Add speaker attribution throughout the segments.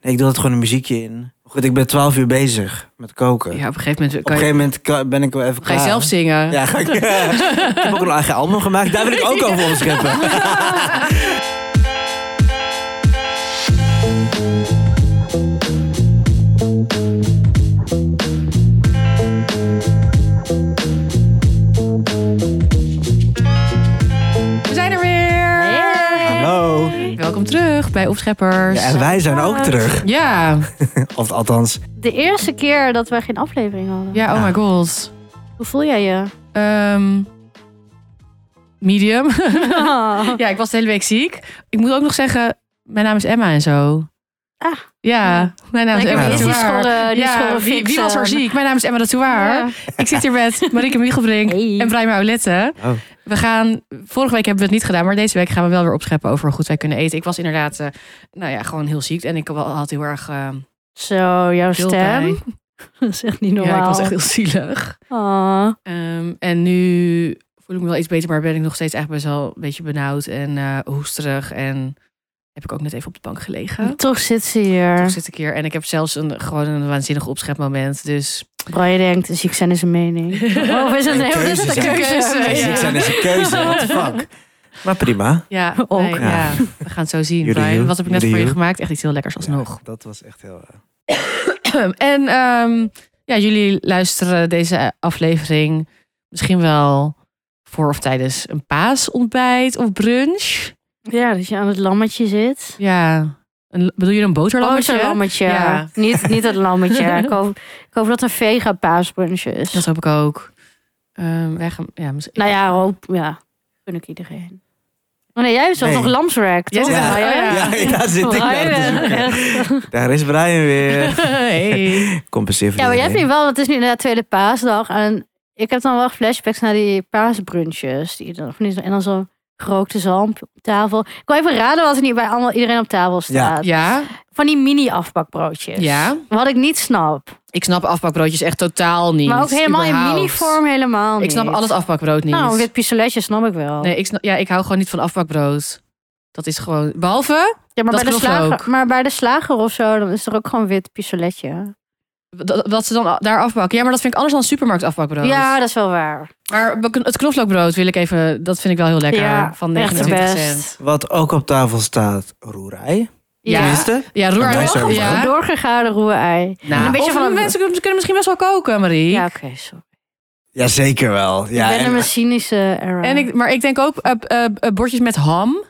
Speaker 1: Nee, ik doe dat gewoon een muziekje in. Goed, ik ben 12 uur bezig met koken.
Speaker 2: Ja, op een gegeven moment
Speaker 1: Op een
Speaker 2: kan je,
Speaker 1: gegeven moment ka- ben ik wel even
Speaker 2: ga je
Speaker 1: klaar.
Speaker 2: zelf zingen.
Speaker 1: Ja, ga ik, ik heb ook een eigen album gemaakt. Daar wil ik ook over onderscheppen.
Speaker 2: We zijn er weer!
Speaker 3: Eh,
Speaker 1: Hallo.
Speaker 2: Welkom terug bij Opscheppers.
Speaker 1: Ja, en wij zijn ook terug.
Speaker 2: Ja,
Speaker 1: Of althans,
Speaker 3: De eerste keer dat wij geen aflevering hadden.
Speaker 2: ja, oh my god.
Speaker 3: Hoe voel jij je?
Speaker 2: Ehm, medium. Ja, ik was de hele week ziek. Ik moet ook nog zeggen, mijn naam is Emma en zo.
Speaker 3: Ah.
Speaker 2: Ja, mijn naam is
Speaker 3: Lekker,
Speaker 2: Emma
Speaker 1: wie
Speaker 2: dat
Speaker 1: is
Speaker 2: is
Speaker 3: die
Speaker 2: waar.
Speaker 3: schorre- die
Speaker 2: ja,
Speaker 3: schorre
Speaker 2: wie,
Speaker 3: fixer?
Speaker 2: wie was er ziek? Mijn naam is Emma de Touwaar.
Speaker 3: Ja.
Speaker 2: Ik zit hier met Marieke Miegelbrink
Speaker 3: Hey.
Speaker 2: en Brian Ouletten.
Speaker 1: Oh.
Speaker 2: We gaan, vorige week hebben we het niet gedaan, maar deze week gaan we wel weer opscheppen over hoe goed wij kunnen eten. Ik was inderdaad, eh, nou ja, gewoon heel ziek en ik wa- had heel erg eh,
Speaker 3: Zo, jouw
Speaker 2: keelpijn.
Speaker 3: stem. Dat is echt niet normaal.
Speaker 2: Ja, ik was echt heel zielig.
Speaker 3: Ah.
Speaker 2: Ehm, en nu voel ik me wel iets beter, maar ben ik nog steeds eigenlijk best wel een beetje benauwd en eh, hoesterig. En heb ik ook net even op de bank gelegen.
Speaker 3: Toch zit ze
Speaker 2: Toen
Speaker 3: hier.
Speaker 2: zit ik hier en ik heb zelfs een, gewoon een waanzinnig opschepmoment. Dus
Speaker 3: Brian denkt, ziek zijn is een mening.
Speaker 2: Oh,
Speaker 3: Of is het
Speaker 1: Een
Speaker 3: nee, dat is
Speaker 1: keuze
Speaker 3: het een
Speaker 1: zijn.
Speaker 2: Een
Speaker 3: keuze.
Speaker 2: keuze,
Speaker 1: ziek
Speaker 2: ja.
Speaker 1: zijn is een keuze. What the fuck. Maar prima.
Speaker 2: ja,
Speaker 3: Ook.
Speaker 2: nee, ja.
Speaker 1: Ja.
Speaker 2: we gaan het zo zien.
Speaker 1: Jullie
Speaker 2: Brian,
Speaker 1: heel,
Speaker 2: wat heb ik net
Speaker 1: jullie
Speaker 2: voor je
Speaker 1: heel.
Speaker 2: gemaakt? Echt iets heel lekkers alsnog.
Speaker 1: Ja, dat was echt heel... eh,
Speaker 2: en ehm, ja, jullie luisteren deze aflevering misschien wel voor of tijdens een paasontbijt of brunch.
Speaker 3: Ja, dat je aan het lammetje zit.
Speaker 2: Ja, een, bedoel je Oh, een boterlammetje?
Speaker 3: Boterlammetje. lammetje.
Speaker 2: Ja.
Speaker 3: Niet, niet het lammetje. ik, hoop, ik hoop dat het een vega paasbrunch is.
Speaker 2: Dat hoop ik ook. Ehm, wij gaan, ja, misschien-
Speaker 3: Nou ja, hoop, ja. Gun ik iedereen. Oh nee, jij hebt wel
Speaker 1: Nee.
Speaker 3: nog lamsrack,
Speaker 2: Jij
Speaker 3: toch?
Speaker 2: zit-
Speaker 3: Brian?
Speaker 2: oh
Speaker 1: Ja,
Speaker 2: ja.
Speaker 1: daar zit ik naar te
Speaker 3: Brian,
Speaker 1: zoeken.
Speaker 3: echt.
Speaker 1: Daar is Brian weer.
Speaker 2: Hey.
Speaker 1: Compenseer voor
Speaker 3: Ja, maar jij
Speaker 1: iedereen.
Speaker 3: vindt wel, het is nu inderdaad tweede paasdag. En ik heb dan wel flashbacks naar die paasbrunches. Die, dan- van die- en dan zo'n gerookte zalm op tafel. Ik wil even raden wat er niet bij allemaal, iedereen op tafel staat.
Speaker 2: Ja,
Speaker 3: Van die mini-afbakbroodjes.
Speaker 2: Ja.
Speaker 3: Wat ik niet snap.
Speaker 2: ik snap afbakbroodjes echt totaal niet.
Speaker 3: Maar ook helemaal in
Speaker 2: Überhaupt.
Speaker 3: mini-vorm helemaal niet.
Speaker 2: Ik snap al het afbakbrood niet.
Speaker 3: Nou, een wit pistoletje snap ik wel.
Speaker 2: nee, ik, snap, ja, ik hou gewoon niet van afbakbrood. Dat is gewoon... Behalve,
Speaker 3: ja, maar,
Speaker 2: dat
Speaker 3: bij de
Speaker 2: klopt ook.
Speaker 3: slager, maar bij de slager of zo, dan is er ook gewoon wit pistoletje.
Speaker 2: dat, dat ze dan a- daar afbakken. Ja, maar dat vind ik anders dan supermarkt afbakbrood.
Speaker 3: Ja, dat is wel waar.
Speaker 2: Maar bek- het knoflookbrood wil ik even... Dat vind ik wel heel lekker.
Speaker 3: Ja,
Speaker 2: van
Speaker 3: echt de
Speaker 2: 29
Speaker 3: best.
Speaker 2: cent.
Speaker 1: Wat ook op tafel staat, roerij.
Speaker 2: Ja.
Speaker 1: Tenminste.
Speaker 2: Ja, roer
Speaker 1: Maar wij zijn
Speaker 2: uit. Ja.
Speaker 1: wel-
Speaker 3: Doorgegaarde roe ei.
Speaker 2: Nou,
Speaker 3: Een beetje
Speaker 2: of
Speaker 3: van een-
Speaker 2: mensen kunnen kunnen misschien best wel koken, Marie.
Speaker 3: Ja, oké, sorry.
Speaker 1: Jazeker wel. Ja,
Speaker 3: ik ben
Speaker 1: en-
Speaker 3: een mijn cynische era.
Speaker 2: En ik, maar ik denk ook eh, eh, eh, bordjes met ham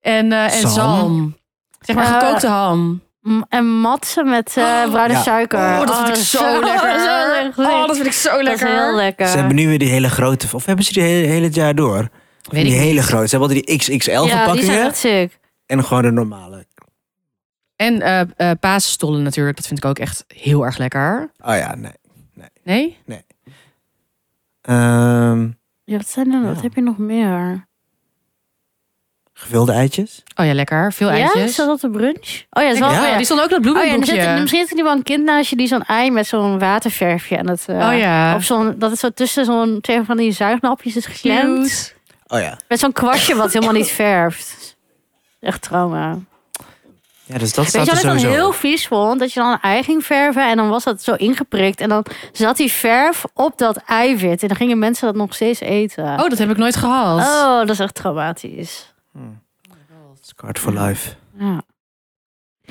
Speaker 2: en, eh, en
Speaker 1: Zalm?
Speaker 2: zalm. Zeg maar
Speaker 3: Eh,
Speaker 2: gekookte ham.
Speaker 3: M- En matsen met eh,
Speaker 2: Oh.
Speaker 3: bruine
Speaker 1: ja.
Speaker 3: suiker. Dat is wel echt leuk.
Speaker 2: vind ik Oh, zo
Speaker 3: Oh, Dat is heel lekker.
Speaker 1: Ze hebben nu weer die hele grote... Of hebben ze die hele, hele het jaar door?
Speaker 2: Weet
Speaker 1: die
Speaker 2: ik
Speaker 1: hele
Speaker 2: niet.
Speaker 1: grote. Ze hebben altijd die XXL
Speaker 3: ja, die zijn
Speaker 1: verpakkingen.
Speaker 3: echt sick.
Speaker 1: En gewoon de normale.
Speaker 2: En eh eh, paasstollen natuurlijk, dat vind ik ook echt heel erg lekker.
Speaker 1: Oh ja, nee.
Speaker 2: Nee?
Speaker 1: Ehm,
Speaker 3: Ja, wat, zijn er,
Speaker 1: Ja.
Speaker 3: wat heb je nog meer?
Speaker 1: gevulde eitjes.
Speaker 2: Oh ja, lekker. Veel
Speaker 3: Ja,
Speaker 2: eitjes.
Speaker 3: is dat op de brunch? Oh ja, dat is wel...
Speaker 1: Ja,
Speaker 3: oh ja.
Speaker 2: Die stond ook dat
Speaker 3: Oh ja, en er
Speaker 2: bloemenboekje.
Speaker 3: zit, misschien zit er nu wel een kind naast je die zo'n ei met zo'n waterverfje en het, eh,
Speaker 2: Oh ja.
Speaker 3: op zo'n, dat het zo tussen zo'n twee van die zuignapjes is geklemd.
Speaker 2: Cute.
Speaker 1: Oh ja.
Speaker 3: Met zo'n kwastje wat helemaal niet verft. Echt trauma.
Speaker 1: Ja, dus dat
Speaker 3: Weet
Speaker 1: staat
Speaker 3: je
Speaker 1: er
Speaker 3: wat ik dan
Speaker 1: sowieso.
Speaker 3: heel vies vond? Dat je dan een ei ging verven en dan was dat zo ingeprikt. En dan zat die verf op dat eiwit. En dan gingen mensen dat nog steeds eten.
Speaker 2: Oh, dat heb ik nooit gehad.
Speaker 3: Oh, dat is echt traumatisch.
Speaker 1: Scarred Hmm. for life.
Speaker 3: Ja.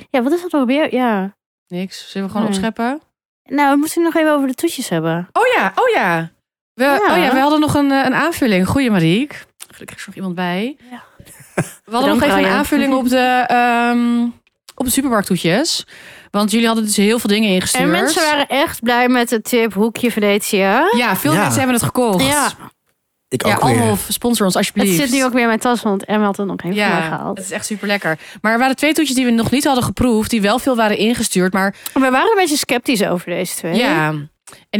Speaker 3: ja, wat is dat nog weer? Ja.
Speaker 2: Niks. Zullen we gewoon
Speaker 3: Nee.
Speaker 2: opscheppen?
Speaker 3: Nou, we moeten het nog even over de toetjes hebben.
Speaker 2: Oh ja, oh ja. We,
Speaker 3: Ja.
Speaker 2: Oh ja, we hadden nog een, eh, een aanvulling. Goeie Mariek. Gelukkig is er nog iemand bij.
Speaker 3: Ja.
Speaker 2: We hadden
Speaker 3: Bedankt,
Speaker 2: nog even
Speaker 3: Brian.
Speaker 2: een aanvulling op de, ehm op de supermarkttoetjes. Want jullie hadden dus heel veel dingen ingestuurd.
Speaker 3: En mensen waren echt blij met het tip Hoekje Venetia.
Speaker 2: Ja, veel
Speaker 1: Ja.
Speaker 2: mensen hebben het gekocht.
Speaker 3: Ja,
Speaker 1: Ik
Speaker 2: Ja,
Speaker 1: ook weer.
Speaker 2: Alhof, sponsor ons
Speaker 3: het
Speaker 2: alsjeblieft.
Speaker 3: zit nu ook weer in mijn tas, want Emma had er nog geen van mij
Speaker 2: Ja,
Speaker 3: gehaald.
Speaker 2: het is echt super lekker. Maar er waren twee toetjes die we nog niet hadden geproefd, die wel veel waren ingestuurd. Maar
Speaker 3: Maar we waren een beetje sceptisch over deze twee.
Speaker 2: ja, en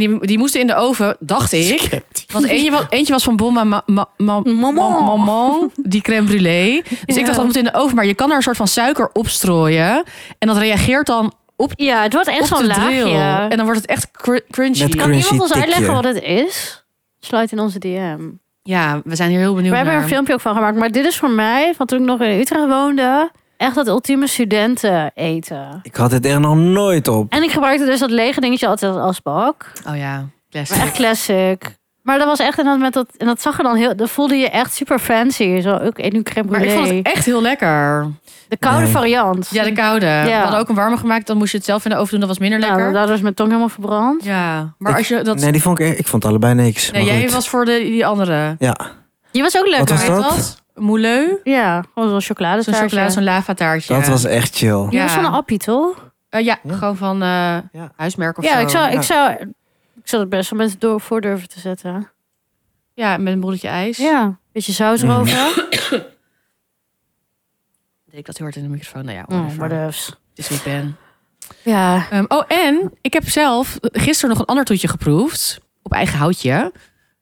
Speaker 2: die, die moesten in de oven, dacht ik.
Speaker 1: Script.
Speaker 2: Want eentje was, eentje was van Bomba ma, ma, ma-
Speaker 3: Maman.
Speaker 2: ma- maman, die crème brûlée. Dus
Speaker 3: Ja.
Speaker 2: ik dacht dat moet in de oven, maar je kan er een soort van suiker op strooien. En dat reageert dan
Speaker 3: ja het wordt echt
Speaker 2: op
Speaker 3: zo'n
Speaker 2: de
Speaker 3: laagje.
Speaker 2: drill. En dan wordt het echt cr- crunchy.
Speaker 1: Met
Speaker 3: Kan
Speaker 1: crunchy
Speaker 3: iemand ons
Speaker 1: tikje.
Speaker 3: uitleggen wat het is? Sluit in onze DM.
Speaker 2: Ja, we zijn hier heel
Speaker 3: We
Speaker 2: benieuwd
Speaker 3: hebben er
Speaker 2: naar.
Speaker 3: een filmpje ook van gemaakt. Maar dit is voor mij, want toen ik nog in Utrecht woonde... echt dat ultieme studenten eten.
Speaker 1: Ik had dit echt nog nooit op.
Speaker 3: En ik gebruikte dus dat lege dingetje altijd als balk.
Speaker 2: Oh ja,
Speaker 3: Maar echt
Speaker 2: classic.
Speaker 3: classic. Maar dat was echt inderdaad met dat... En dat zag er dan heel... Dat voelde je echt super fancy. Zo, ik eet nu crème
Speaker 2: Maar ik
Speaker 3: brûlée.
Speaker 2: vond het echt heel lekker.
Speaker 3: De koude
Speaker 1: Nee.
Speaker 3: variant.
Speaker 2: Ja, de koude. We hadden ook een warme gemaakt, dan moest je het zelf in de oven doen. Dat was minder
Speaker 3: Nou,
Speaker 2: lekker.
Speaker 3: daardoor is mijn tong helemaal verbrand.
Speaker 2: Ja, maar als je dat...
Speaker 1: Nee, die vond ik, e- ik vond allebei niks.
Speaker 2: Nee,
Speaker 1: maar
Speaker 2: jij
Speaker 1: goed.
Speaker 2: was voor de, die andere.
Speaker 1: Ja,
Speaker 3: Die was ook lekker.
Speaker 1: was
Speaker 2: Hoe heet
Speaker 1: dat?
Speaker 2: Mouleu.
Speaker 3: Ja, gewoon zo'n
Speaker 2: Zo'n
Speaker 3: chocoladetaartje.
Speaker 2: chocola, zo'n lavataartje.
Speaker 1: dat was echt chill.
Speaker 3: Die
Speaker 2: Ja.
Speaker 3: was van een appie, toch?
Speaker 2: Eh, ja,
Speaker 1: Ja.
Speaker 2: gewoon van eh, huismerk of
Speaker 3: ja,
Speaker 2: zo.
Speaker 3: ik zou,
Speaker 1: ja.
Speaker 3: ik zou, ik zou het best wel mensen door voor durven te zetten.
Speaker 2: Ja, met een bolletje ijs.
Speaker 3: Ja, beetje saus
Speaker 1: Mm.
Speaker 3: erover.
Speaker 2: Deed ik dat heel hard in de microfoon. Nou ja,
Speaker 3: Oh,
Speaker 2: whatever.
Speaker 3: maar dus.
Speaker 2: Het is wie ik ben.
Speaker 3: Ja.
Speaker 2: Ehm, oh, en ik heb zelf gisteren nog een ander toetje geproefd. Op eigen houtje.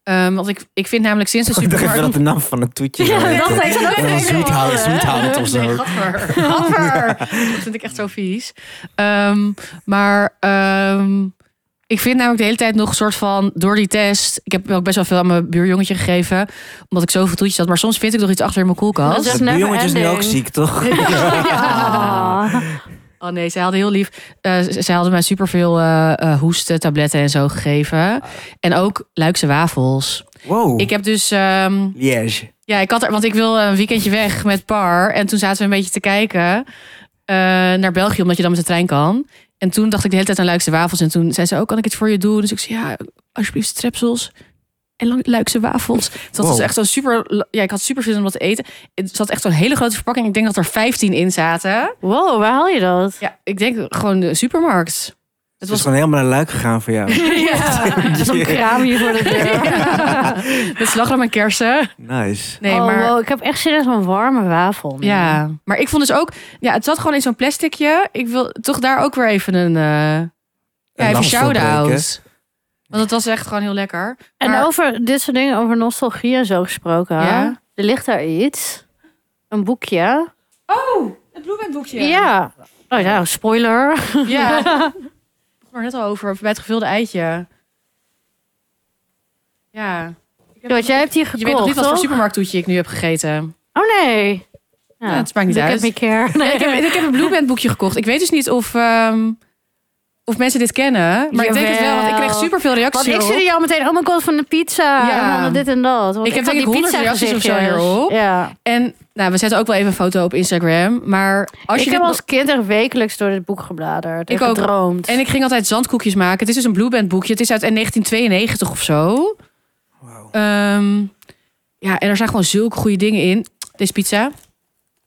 Speaker 2: Ehm, want ik, ik vind namelijk sinds de
Speaker 1: Oh, Ik dacht even
Speaker 2: supermarkt...
Speaker 1: dat de naam van het toetje
Speaker 3: Ja,
Speaker 1: was.
Speaker 3: dat dacht ik ook
Speaker 1: was
Speaker 3: even.
Speaker 1: Zoethout, zoethout of zo.
Speaker 2: Nee, gaffer. Gaffer. Dat vind ik echt zo vies. Ehm, maar ehm, ik vind namelijk de hele tijd nog een soort van... door die test... Ik heb ook best wel veel aan mijn buurjongetje gegeven. Omdat ik zoveel toetjes had. Maar soms vind ik nog iets achter in mijn koelkast.
Speaker 3: Dat is echt
Speaker 1: De
Speaker 3: never
Speaker 1: jongetje is nu
Speaker 3: ending.
Speaker 1: ook ziek, toch?
Speaker 3: Ah.
Speaker 2: Oh nee, zij hadden heel lief. eh, z- zij hadden mij superveel eh eh hoesten, tabletten en zo gegeven. En ook Luikse wafels.
Speaker 1: Wow.
Speaker 2: Ik heb dus. ehm,
Speaker 1: Liège.
Speaker 2: ja, ik had er. Want ik wil een weekendje weg met Par. En toen zaten we een beetje te kijken eh, naar België, omdat je dan met de trein kan. En toen dacht ik de hele tijd aan Luikse wafels. En toen zei ze ook: kan ik het voor je doen? Dus ik zei: ja, alsjeblieft, strepsels. En lu- Luikse wafels. Dus dat was
Speaker 1: Wow.
Speaker 2: echt zo'n super. Ja, ik had super zin om dat te eten. Het zat echt zo'n hele grote verpakking. Ik denk dat er 15 in zaten.
Speaker 3: Wow, waar haal je dat?
Speaker 2: Ja, ik denk gewoon de supermarkt. Het
Speaker 1: Het was
Speaker 2: was.
Speaker 1: gewoon helemaal naar luik gegaan voor jou.
Speaker 3: Ja. Zo'n kraam hier voor de deur.
Speaker 2: Met slagroom en kersen.
Speaker 1: Nice.
Speaker 2: Nee,
Speaker 3: oh,
Speaker 2: maar.
Speaker 3: wow, ik heb echt zin in zo'n warme wafel. nu.
Speaker 2: Ja, maar ik vond dus ook. Ja, het zat gewoon in zo'n plasticje. Ik wil toch daar ook weer even een. eh, ja, even
Speaker 1: lans
Speaker 2: shout-out. Want het was echt gewoon heel lekker.
Speaker 3: En
Speaker 2: Maar-
Speaker 3: over dit soort dingen, over nostalgie en zo gesproken.
Speaker 2: Ja?
Speaker 3: Er ligt daar iets. Een boekje.
Speaker 2: Oh, het bloemenboekje.
Speaker 3: Ja. Oh ja, spoiler.
Speaker 2: Ja. Ik begon er net al over. Bij het gevulde eitje. Ja.
Speaker 3: Want jij hebt hier gekocht,
Speaker 2: Je weet nog niet wat voor
Speaker 3: toch?
Speaker 2: supermarkttoetje ik nu heb gegeten.
Speaker 3: Oh nee. Ja,
Speaker 2: het maakt niet
Speaker 3: Look
Speaker 2: uit.
Speaker 3: at me care.
Speaker 2: Nee, ik, heb, ik heb een Blue Band boekje gekocht. Ik weet dus niet of, ehm, of mensen dit kennen. Maar ik denk het wel, want ik kreeg
Speaker 3: Jawel.
Speaker 2: superveel
Speaker 3: Want
Speaker 2: reacties
Speaker 3: ik
Speaker 2: hierop.
Speaker 3: stuurde jou meteen, oh mijn god, van de pizza.
Speaker 2: Ja.
Speaker 3: En dan dit en dat. Want
Speaker 2: Ik heb
Speaker 3: had
Speaker 2: denk
Speaker 3: die
Speaker 2: ik 100 reacties of zo
Speaker 3: pizzagezichtjes.
Speaker 2: hierop.
Speaker 3: Ja.
Speaker 2: En nou, we zetten ook wel even een foto op Instagram. Maar als je
Speaker 3: ik heb
Speaker 2: dit-
Speaker 3: als kind echt wekelijks door dit boek gebladerd.
Speaker 2: Ik
Speaker 3: Ik
Speaker 2: ook.
Speaker 3: gedroomd.
Speaker 2: En ik ging altijd zandkoekjes maken. Het is dus een Blue Band boekje. Het is uit 1992 of zo.
Speaker 1: Wauw.
Speaker 2: Ehm, ja, en er zijn gewoon zulke goede dingen in. Deze pizza.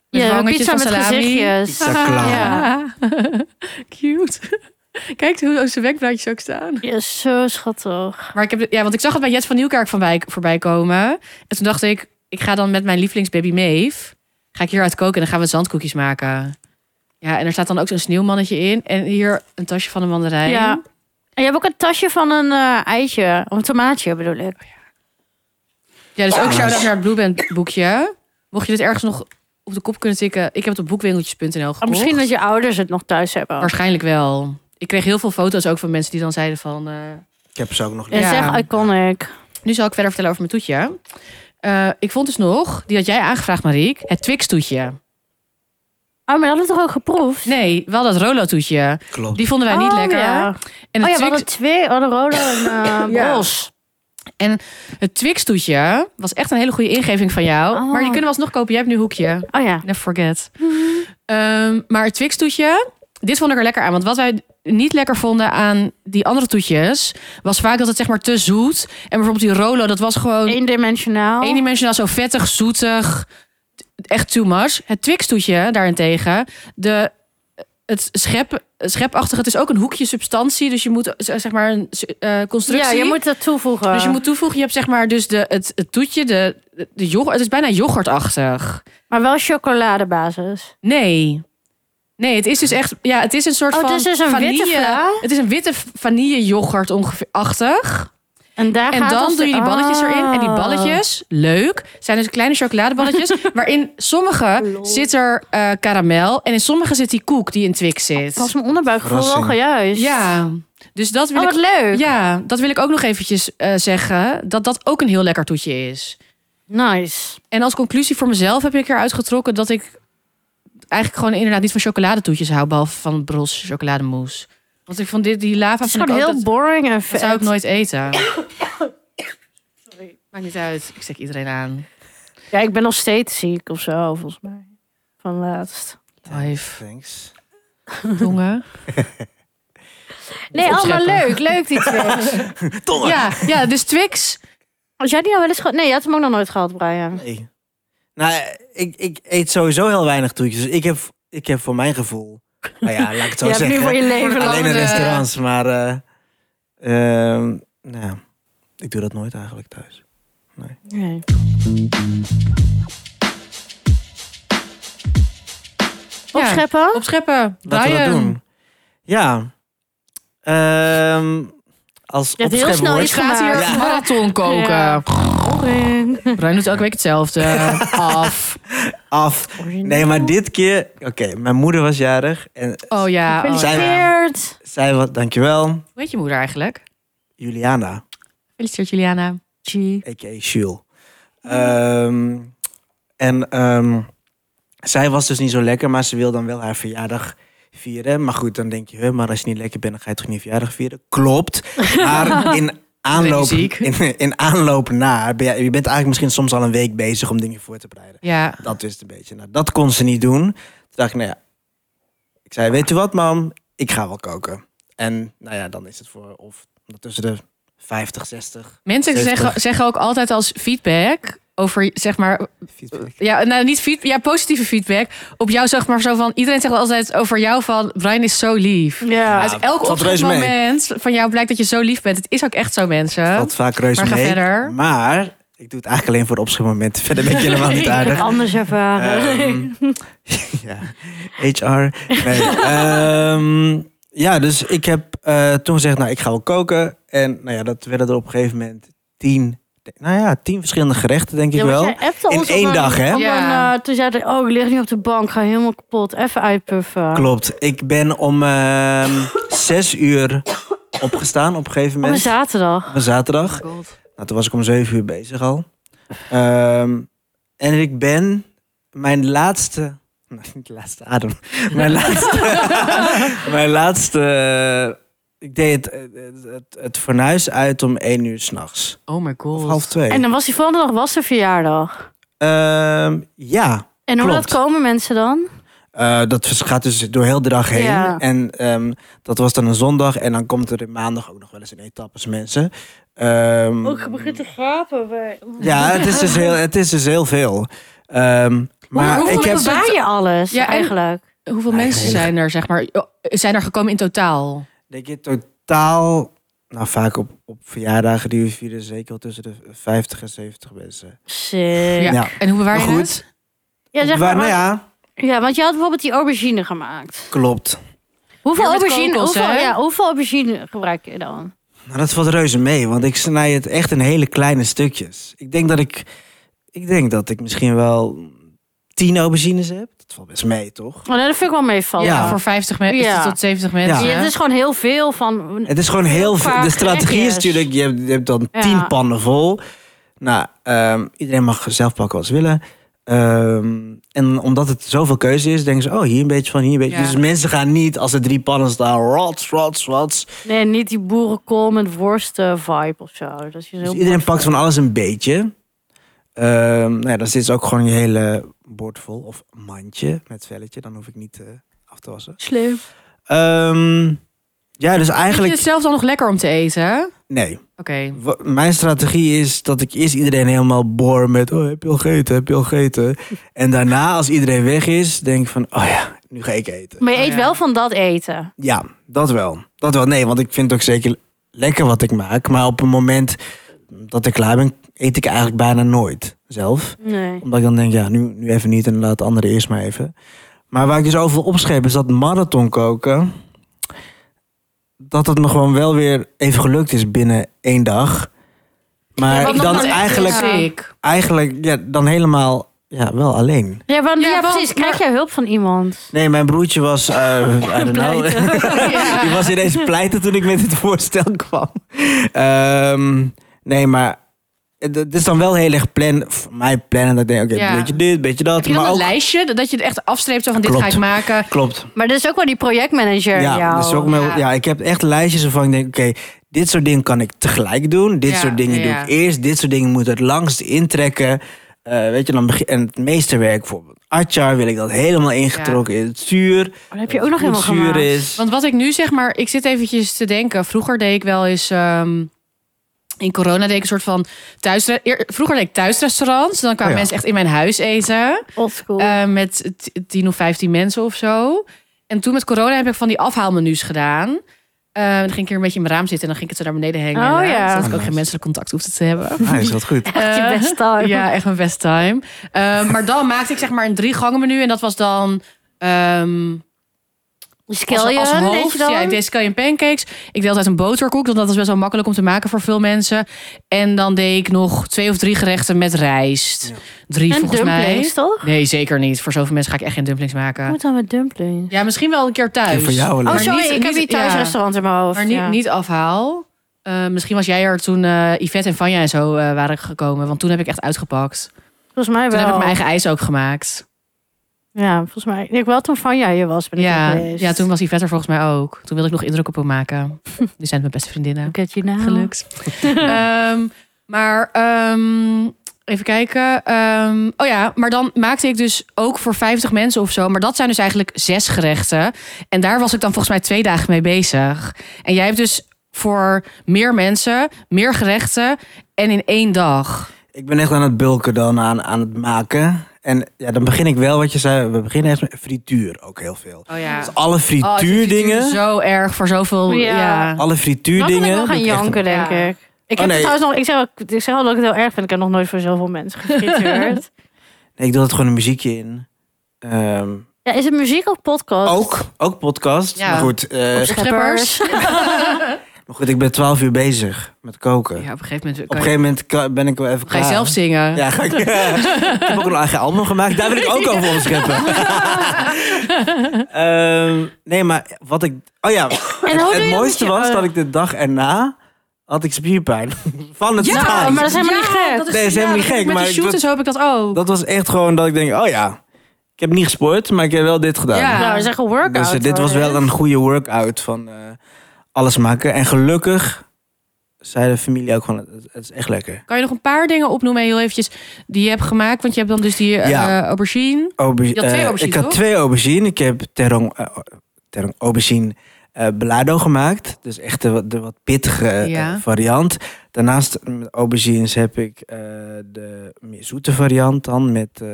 Speaker 2: Met
Speaker 3: ja,
Speaker 2: wangetjes
Speaker 3: pizza
Speaker 2: van
Speaker 3: met
Speaker 2: salami.
Speaker 3: gezichtjes.
Speaker 1: Pizza clown.
Speaker 2: Ja. Cute. Kijk hoe zijn wenkbrauwtjes ook staan.
Speaker 3: Ja, zo schattig.
Speaker 2: Maar ik heb, ja, want ik zag het bij Jet van Nieuwkerk van Wijk voorbij komen. En toen dacht ik, ik ga dan met mijn lievelingsbaby Maeve... ga ik hieruit koken en dan gaan we zandkoekjes maken. Ja, en er staat dan ook zo'n sneeuwmannetje in. En hier een tasje van een mandarijn.
Speaker 3: Ja. En je hebt ook een tasje van een eh, eitje. Of een tomaatje bedoel ik.
Speaker 2: Oh, Ja, dus ook shout-out naar het Blue Band boekje. Mocht je dit ergens nog op de kop kunnen tikken... ik heb het op boekwinkeltjes.nl
Speaker 3: Of
Speaker 2: gekocht.
Speaker 3: Ah, misschien dat je ouders het nog thuis hebben.
Speaker 2: Waarschijnlijk wel. Ik kreeg heel veel foto's ook van mensen die dan zeiden van... eh,
Speaker 1: Ik heb ze ook nog
Speaker 3: Dat
Speaker 1: niet.
Speaker 3: is
Speaker 2: Ja.
Speaker 3: echt iconic.
Speaker 2: nu zal ik verder vertellen over mijn toetje. Eh, ik vond dus nog, die had jij aangevraagd, Mariek, het Twix-toetje.
Speaker 3: Oh, maar dat hadden we toch ook geproefd?
Speaker 2: Nee, wel dat Rolo-toetje.
Speaker 1: Klopt.
Speaker 2: Die vonden wij niet
Speaker 3: Oh,
Speaker 2: lekker.
Speaker 3: Ja.
Speaker 2: En het,
Speaker 3: Oh
Speaker 2: Twix,
Speaker 3: ja, we hadden twee. We hadden Rolo en eh
Speaker 2: Ja.
Speaker 3: Bros.
Speaker 2: het Twix-toetje was echt een hele goede ingeving van jou.
Speaker 3: Oh. Mhm.
Speaker 2: Maar die kunnen we alsnog kopen. Jij hebt nu hoekje.
Speaker 3: Oh ja.
Speaker 2: Never forget. Ehm, maar het Twix-toetje, dit vond ik er lekker aan. Want wat wij niet lekker vonden aan die andere toetjes... was vaak dat het zeg maar te zoet. En bijvoorbeeld die Rolo, dat was gewoon...
Speaker 3: Eendimensionaal.
Speaker 2: eendimensionaal zo vettig, zoetig. Echt too much. Het Twix-toetje daarentegen. De, het schep, schepachtige, het is ook een hoekje substantie. Dus je moet z- zeg maar een s- eh,
Speaker 3: ja,
Speaker 2: constructie.
Speaker 3: je moet eh. dat toevoegen.
Speaker 2: Dus je moet toevoegen, je hebt zeg maar dus de, het, het toetje, de, de yoghurt. Het is bijna yoghurtachtig.
Speaker 3: Maar wel chocoladebasis.
Speaker 2: Nee. Nee, het is dus echt, ja, het is een soort
Speaker 3: Oh,
Speaker 2: van
Speaker 3: het is dus een witte vla?
Speaker 2: Het is een witte vanille yoghurt ongeveer achtig.
Speaker 3: En daar
Speaker 2: En
Speaker 3: gaat
Speaker 2: dan
Speaker 3: als
Speaker 2: doe je die
Speaker 3: de-
Speaker 2: balletjes erin. En die
Speaker 3: Oh.
Speaker 2: balletjes, leuk, zijn dus kleine chocoladeballetjes. waarin sommige
Speaker 3: Lol.
Speaker 2: zit er eh, karamel. En in sommige zit die koek die in Twix
Speaker 3: Pas
Speaker 2: zit.
Speaker 3: mijn onderbuikgevoel wel
Speaker 1: Verrassing.
Speaker 3: gejuist.
Speaker 2: Ja, dus dat wil
Speaker 3: Oh, wat
Speaker 2: ik...
Speaker 3: leuk.
Speaker 2: Ja, dat wil ik ook nog eventjes eh, zeggen. Dat dat ook een heel lekker toetje is.
Speaker 3: Nice.
Speaker 2: En als conclusie voor mezelf heb ik eruit getrokken dat ik eigenlijk gewoon inderdaad niet van chocoladetoetjes hou, behalve van brols chocolademousse. Want ik vond dit, die lava
Speaker 3: Het is
Speaker 2: van
Speaker 3: gewoon heel boring en vet.
Speaker 2: dat zou ik nooit eten. Maakt niet uit. Ik stek iedereen aan.
Speaker 3: Ja, ik ben nog steeds ziek of zo, volgens mij. Van laatst.
Speaker 2: Live.
Speaker 1: Thanks.
Speaker 2: Tongen.
Speaker 3: Nee, allemaal
Speaker 2: opscheppen.
Speaker 3: leuk. Leuk die Twix.
Speaker 1: Tongen!
Speaker 2: Ja, ja, dus Twix.
Speaker 3: Als jij die nou wel eens gehad... Nee, je had hem ook nog nooit gehad, Brian.
Speaker 1: Nee. Nou, ik, ik eet sowieso heel weinig toetjes. Dus ik heb, ik heb voor mijn gevoel... Nou ja, laat ik het zo
Speaker 3: je hebt
Speaker 1: zeggen.
Speaker 3: nu voor je leven lang...
Speaker 1: Alleen in
Speaker 2: de-
Speaker 1: restaurants, maar... eh, ehm, nou, ja, ik doe dat nooit eigenlijk thuis.
Speaker 3: Nee.
Speaker 2: Ja.
Speaker 3: Opscheppen?
Speaker 2: Opscheppen.
Speaker 1: Laten we dat
Speaker 2: Brian.
Speaker 1: doen. Ja. Ehm, als
Speaker 3: Je hebt heel snel
Speaker 1: opschepwoord-
Speaker 2: Ik ga het hier
Speaker 1: Ja.
Speaker 2: marathon koken.
Speaker 3: Ja. Boring.
Speaker 2: Brian doet elke week hetzelfde. Af.
Speaker 1: af.
Speaker 3: Origineel.
Speaker 1: Nee, maar dit keer... Oké, mijn moeder was jarig. En
Speaker 2: Oh ja. Oh, ja.
Speaker 1: Zijn-
Speaker 3: Gefeliciteerd.
Speaker 1: zij was... Dankjewel.
Speaker 2: Hoe heet je moeder eigenlijk?
Speaker 1: Juliana,
Speaker 2: Gefeliciteerd Juliana. G.
Speaker 1: a.k.a. Jules. Ehm, en ehm, zij was dus niet zo lekker, maar ze wil dan wel haar verjaardag vieren. Maar goed, dan denk je, hè, maar als je niet lekker bent, dan ga je toch niet je verjaardag vieren? Klopt. Maar in aanloop,
Speaker 2: Ben je ziek?
Speaker 1: in, in aanloop naar, ben je, je bent eigenlijk misschien soms al een week bezig om dingen voor te bereiden.
Speaker 2: Ja.
Speaker 1: Dat is het een beetje. Nou, dat kon ze niet doen. Toen dacht ik, nou ja. Ik zei, weet u wat, mam? Ik ga wel koken. En nou ja, dan is het voor of tussen de 50, 60.
Speaker 2: Mensen
Speaker 1: Zeventig.
Speaker 2: zeggen, zeggen ook altijd als feedback over zeg maar ja nou niet feed, ja positieve feedback op jou zeg maar zo van iedereen zegt altijd over jou van Brian is zo lief.
Speaker 3: Ja.
Speaker 1: Ja.
Speaker 2: Uit elk
Speaker 1: valt reuze mee.
Speaker 2: moment van jou blijkt dat je zo lief bent. Het is ook echt zo mensen.
Speaker 1: Valt vaak reuze
Speaker 2: Maar ga
Speaker 1: mee.
Speaker 2: verder.
Speaker 1: Maar ik doe het eigenlijk alleen voor de opschepmoment. Verder ben ik helemaal niet
Speaker 3: Ik heb
Speaker 1: aardig.
Speaker 3: anders ervaren.
Speaker 1: Ehm, ja, HR. Nee, ehm, ja, dus ik heb eh, toen gezegd, nou, ik ga wel koken. En nou ja, dat werden er op een gegeven moment tien, nou ja, tien verschillende gerechten, denk ik
Speaker 3: Ja, want
Speaker 1: wel.
Speaker 3: jij appte
Speaker 1: In
Speaker 3: ons op
Speaker 1: één
Speaker 3: een-
Speaker 1: dag, hè?
Speaker 3: op een,
Speaker 2: Ja.
Speaker 3: eh, toen zei hij, oh, ik lig nu op de bank, ga helemaal kapot. Even uitpuffen.
Speaker 1: Klopt. Ik ben om ehm, zes uur opgestaan op een gegeven
Speaker 3: Op een
Speaker 1: moment.
Speaker 3: zaterdag.
Speaker 1: Op een zaterdag. Nou, toen was ik om zeven uur bezig al. Ehm, en ik ben mijn laatste... Nee, niet de laatste adem. Mijn laatste... mijn laatste eh, ik deed het, het, het, het fornuis uit om één uur s'nachts.
Speaker 2: Oh my god.
Speaker 1: Of half twee.
Speaker 3: En dan was die volgende dag was de verjaardag.
Speaker 1: Ehm, ja.
Speaker 3: En hoe
Speaker 1: Klopt.
Speaker 3: laat komen mensen dan?
Speaker 1: Eh, dat vers- gaat dus door heel de dag heen.
Speaker 3: Ja.
Speaker 1: En ehm, dat was dan een zondag. En dan komt er in maandag ook nog wel eens in etappes mensen. Ehm,
Speaker 3: te gapen.
Speaker 1: ja, het is dus heel, het is dus heel veel. Ehm, maar
Speaker 2: hoeveel
Speaker 1: ik heb...
Speaker 2: mensen-
Speaker 3: Waar je alles
Speaker 2: Ja, en-
Speaker 3: eigenlijk?
Speaker 2: Hoeveel
Speaker 1: Nee,
Speaker 2: mensen
Speaker 1: geen-
Speaker 2: zijn er zeg maar oh, zijn er gekomen in totaal?
Speaker 1: Denk je totaal... Nou, vaak op, op verjaardagen die we vieren zeker wel tussen de 50 en 70 mensen.
Speaker 3: Sick.
Speaker 2: Ja.
Speaker 3: Ja,
Speaker 1: Ja.
Speaker 2: En hoe waren
Speaker 1: Maar
Speaker 2: je
Speaker 1: goed.
Speaker 2: het?
Speaker 3: zeg maar,
Speaker 1: Waar- nou ja,
Speaker 3: ja, want je had bijvoorbeeld die aubergine gemaakt.
Speaker 1: klopt.
Speaker 3: Hoeveel
Speaker 2: Weer met
Speaker 3: aubergine,
Speaker 2: kokos,
Speaker 3: hoeveel,
Speaker 2: hè?
Speaker 3: ja, hoeveel aubergine gebruik je dan?
Speaker 1: Nou, dat valt reuze mee. Want ik snij het echt in hele kleine stukjes. Ik denk dat ik... Ik denk dat ik misschien wel tien aubergines heb. Dat valt best mee, toch?
Speaker 3: Oh, nee, dat vind ik wel meevallen.
Speaker 1: Ja.
Speaker 2: Voor 50 mensen
Speaker 3: Ja.
Speaker 2: tot 70 mensen.
Speaker 3: Ja, het is gewoon heel veel van...
Speaker 1: Het is gewoon heel
Speaker 3: Qua
Speaker 1: veel. De strategie
Speaker 3: gerechtjes.
Speaker 1: is natuurlijk, je hebt, je hebt dan
Speaker 3: Ja.
Speaker 1: tien pannen vol. Nou, ehm, iedereen mag zelf pakken wat ze willen. Ehm, en omdat het zoveel keuze is, denken ze, oh, hier een beetje van, hier een beetje.
Speaker 2: Ja.
Speaker 1: Dus mensen gaan niet, als er drie pannen staan, rots, rots, rots.
Speaker 3: Nee, niet die boerenkool met worsten vibe of zo. Dat is heel
Speaker 1: Dus iedereen pakt van alles een beetje. Ehm, nou ja, dan zit ook gewoon je hele bord vol. Of mandje met velletje, dan hoef ik niet eh, af te wassen.
Speaker 3: Slim.
Speaker 1: Ehm, ja, dus
Speaker 2: Vind je
Speaker 1: eigenlijk,
Speaker 2: het zelf dan nog lekker om te eten? Oké.
Speaker 1: nee. Wa- Mijn strategie is dat ik eerst iedereen helemaal boor met... Oh, heb je al gegeten? Heb je al gegeten? En daarna, als iedereen weg is, denk ik van... Oh ja, nu ga ik eten.
Speaker 3: Maar je
Speaker 2: Oh,
Speaker 3: eet
Speaker 2: ja.
Speaker 3: wel van dat eten.
Speaker 1: Ja, dat wel. Dat wel. Nee, want ik vind het ook zeker lekker wat ik maak. Maar op het moment dat ik klaar ben, eet ik eigenlijk bijna nooit zelf.
Speaker 3: Nee.
Speaker 1: Omdat ik dan denk, ja, nu, nu even niet en laat de anderen eerst maar even. Maar waar ik dus over wil opschepen is dat marathon koken... Dat het me gewoon wel weer even gelukt is binnen één dag... Maar
Speaker 3: Ja, want
Speaker 1: ik
Speaker 3: dan
Speaker 1: dan
Speaker 3: maar echt
Speaker 1: eigenlijk
Speaker 3: is-
Speaker 2: Sick.
Speaker 1: eigenlijk ja, dan helemaal ja, wel alleen.
Speaker 3: Ja, want,
Speaker 2: Ja,
Speaker 3: ja,
Speaker 2: want-
Speaker 3: precies. Krijg jij hulp van iemand?
Speaker 1: Nee, mijn broertje was, eh I don't know.
Speaker 2: Ja.
Speaker 1: Die was ineens pleiten toen ik met dit voorstel kwam. Ehm, nee, maar eh, dit is dan wel heel erg plan, voor mij plannen. Dat ik denk, oké,
Speaker 2: Ja.
Speaker 1: beetje dit, beetje dat.
Speaker 2: Heb je dan
Speaker 1: maar
Speaker 2: een
Speaker 1: ook,
Speaker 2: lijstje dat- dat je het echt afstreept zo van dit
Speaker 1: Klopt.
Speaker 2: ga ik maken?
Speaker 1: Klopt.
Speaker 3: Maar dat is ook wel die projectmanager. in
Speaker 1: Ja,
Speaker 3: jou.
Speaker 1: dat is ook mijn-
Speaker 2: Ja.
Speaker 1: ja. ik heb echt lijstjes waarvan ik denk, oké, dit soort dingen kan ik tegelijk doen. Dit
Speaker 2: Ja,
Speaker 1: soort dingen doe
Speaker 2: ja.
Speaker 1: ik eerst. Dit soort dingen moet het langst intrekken. Eh, weet je, dan begin, en het meesterwerk, bijvoorbeeld Atjar, wil ik dat helemaal ingetrokken in het zuur.
Speaker 3: Dat Oh, heb je ook nog helemaal
Speaker 1: zuur
Speaker 3: gemaakt.
Speaker 1: is.
Speaker 2: Want wat ik nu zeg, maar ik zit eventjes te denken. Vroeger deed ik wel eens. ehm, in corona deed ik een soort van thuis. eer- Vroeger deed ik thuisrestaurants. Dan kwamen
Speaker 1: Oh ja.
Speaker 2: mensen echt in mijn huis eten.
Speaker 3: Old school.
Speaker 2: eh, met t- 10 of 15 mensen of zo. En toen met corona heb ik van die afhaalmenu's gedaan. Eh, dan ging ik hier een beetje in mijn raam zitten en dan ging ik het zo naar beneden hangen.
Speaker 3: Oh
Speaker 2: eh,
Speaker 3: ja.
Speaker 2: Zodat ik ook
Speaker 1: Nice.
Speaker 2: geen menselijk contact hoefde te hebben.
Speaker 1: Ah, is dat goed?
Speaker 3: Echt je
Speaker 2: eh,
Speaker 3: best time.
Speaker 2: Ja, echt mijn best time. Eh, maar dan maakte ik zeg maar een drie gangen menu. En dat was dan ehm,
Speaker 3: Scallion,
Speaker 2: als, als
Speaker 3: deed
Speaker 2: hoofd.
Speaker 3: je dan?
Speaker 2: Ja, ik deed scallion pancakes. Ik deed altijd een boterkoek, want dat was best wel makkelijk om te maken voor veel mensen. En dan deed ik nog twee of drie gerechten met rijst.
Speaker 1: Ja.
Speaker 2: Drie
Speaker 3: en
Speaker 2: volgens
Speaker 3: dumplings,
Speaker 2: mij.
Speaker 3: toch?
Speaker 2: Nee, zeker niet. Voor zoveel mensen ga ik echt geen dumplings
Speaker 3: Hoe
Speaker 2: maken.
Speaker 3: moet dan met dumplings?
Speaker 2: Ja, misschien wel een keer thuis.
Speaker 1: En voor jou alleen.
Speaker 3: Oh,
Speaker 2: Maar
Speaker 3: sorry,
Speaker 2: niet-
Speaker 3: ik heb
Speaker 2: niet-
Speaker 3: die thuisrestaurant in mijn hoofd.
Speaker 2: Maar niet,
Speaker 3: ja.
Speaker 2: niet afhaal. Eh, misschien was jij er toen eh, Yvette en Vanja en zo eh, waren gekomen. Want toen heb ik echt uitgepakt.
Speaker 3: volgens mij wel.
Speaker 2: Toen heb ik mijn eigen ijs ook gemaakt.
Speaker 3: Ja, volgens mij. Ik wel toen van jij hier was, ben ik
Speaker 2: Ja,
Speaker 3: er geweest.
Speaker 2: ja, toen was Yvette er volgens mij ook. Toen wilde ik nog indruk op hem maken. Die zijn mijn beste vriendinnen.
Speaker 3: Look at you now.
Speaker 2: Gelukt. Ehm, maar ehm, even kijken. Ehm, oh ja, maar dan maakte ik dus ook voor 50 mensen of zo. Maar dat zijn dus eigenlijk zes gerechten. En daar was ik dan volgens mij twee dagen mee bezig. En jij hebt dus voor meer mensen, meer gerechten en in één dag.
Speaker 1: Ik ben echt aan het bulken dan, aan, aan het maken. En ja, dan begin ik wel wat je zei. We beginnen echt met frituur ook heel veel.
Speaker 2: Oh ja.
Speaker 1: Dus alle frituurdingen,
Speaker 2: Zo erg voor zoveel.
Speaker 3: Ja.
Speaker 2: ja.
Speaker 1: alle
Speaker 3: Dan kan ik
Speaker 1: frituurdingen.
Speaker 3: wel gaan
Speaker 1: doe ik echt-
Speaker 3: janken, denk
Speaker 2: Ja.
Speaker 3: ik.
Speaker 1: Oh,
Speaker 3: Ik heb
Speaker 1: nee.
Speaker 3: trouwens nog, ik zeg, ook- ik zeg al dat ik het heel erg vind. Ik heb nog nooit voor zoveel mensen gefrituurd.
Speaker 1: Nee, ik doe er gewoon een muziekje in. Ehm,
Speaker 3: ja, is het muziek of podcast?
Speaker 1: ook, ook podcast.
Speaker 2: Ja.
Speaker 1: Maar goed, eh,
Speaker 3: Scheppers.
Speaker 1: Maar goed, ik ben 12 uur bezig met koken.
Speaker 2: Ja, op een gegeven moment.
Speaker 1: Op een
Speaker 2: kan je-
Speaker 1: gegeven moment ka- ben ik wel even
Speaker 2: Ga je
Speaker 1: klaar.
Speaker 2: zelf zingen?
Speaker 1: Ja, ga ik, ik heb ook een eigen album gemaakt. Daar wil ik ook over ontscheppen. Ehm, nee, maar wat ik... Oh ja,
Speaker 3: hoe doe
Speaker 1: het,
Speaker 3: je
Speaker 1: het
Speaker 3: dat
Speaker 1: mooiste
Speaker 3: met je-
Speaker 1: was
Speaker 3: oh.
Speaker 1: dat ik de dag erna... had ik spierpijn van het
Speaker 3: Ja,
Speaker 1: staan.
Speaker 3: maar dat is helemaal niet gek.
Speaker 1: Nee, dat is helemaal niet
Speaker 2: dat heb ik
Speaker 1: gek,
Speaker 2: Met
Speaker 1: maar
Speaker 2: de
Speaker 1: ik-
Speaker 2: shoot en
Speaker 1: dat-
Speaker 2: zo heb ik dat ook.
Speaker 1: Dat was echt gewoon dat ik denk... oh ja, ik heb niet gesport, maar ik heb wel dit gedaan.
Speaker 2: Ja.
Speaker 3: Nou, zeg een workout.
Speaker 1: Dus eh, dit was
Speaker 3: hoor.
Speaker 1: wel een goede workout van eh, alles maken. En gelukkig zei de familie ook gewoon... het- het is echt lekker.
Speaker 2: Kan je nog een paar dingen opnoemen, heel eventjes, die je hebt gemaakt? Want je hebt dan dus die eh,
Speaker 1: Ja.
Speaker 2: eh, aubergine.
Speaker 1: Auber-
Speaker 2: had twee
Speaker 1: eh,
Speaker 2: aubergines,
Speaker 1: ik had
Speaker 2: toch?
Speaker 1: twee aubergine. Ik heb terong, eh, terong aubergine eh blado gemaakt. Dus echt de, wat- de wat pittige eh,
Speaker 2: Ja.
Speaker 1: variant. Daarnaast met aubergines heb ik eh, de meer zoete variant dan met, eh,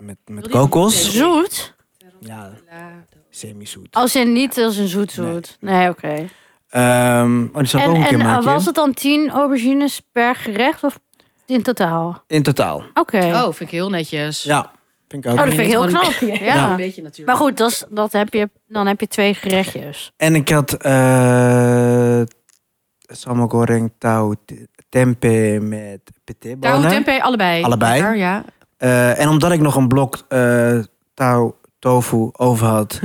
Speaker 1: met, met
Speaker 2: die
Speaker 1: kokos.
Speaker 2: zoete?
Speaker 3: Zoet?
Speaker 1: Ja, semi-zoet.
Speaker 3: Als in niet als een zoet zoet. Nee, oké.
Speaker 1: Ehm, oh, die zal ik ook
Speaker 3: En,
Speaker 1: een keer
Speaker 3: en eh,
Speaker 1: maken.
Speaker 3: was het dan 10 aubergines per gerecht of in totaal?
Speaker 1: In totaal.
Speaker 3: Oké.
Speaker 2: Oh, vind ik heel netjes.
Speaker 1: Ja, vind ik ook.
Speaker 3: Oh, dat
Speaker 2: je
Speaker 3: vind ik
Speaker 2: moet
Speaker 3: heel
Speaker 2: gewoon-
Speaker 3: knap.
Speaker 2: Ja,
Speaker 3: Ja.
Speaker 2: beetje natuurlijk.
Speaker 3: Maar goed, dat is- dat heb je, dan heb je twee gerechtjes.
Speaker 1: En ik had eh samogoreng tau tempeh met
Speaker 2: Tao
Speaker 1: petebonen.
Speaker 2: tempeh, allebei.
Speaker 1: Allebei.
Speaker 2: Lekker, ja.
Speaker 1: Eh, en omdat ik nog een blok eh touw tofu over had,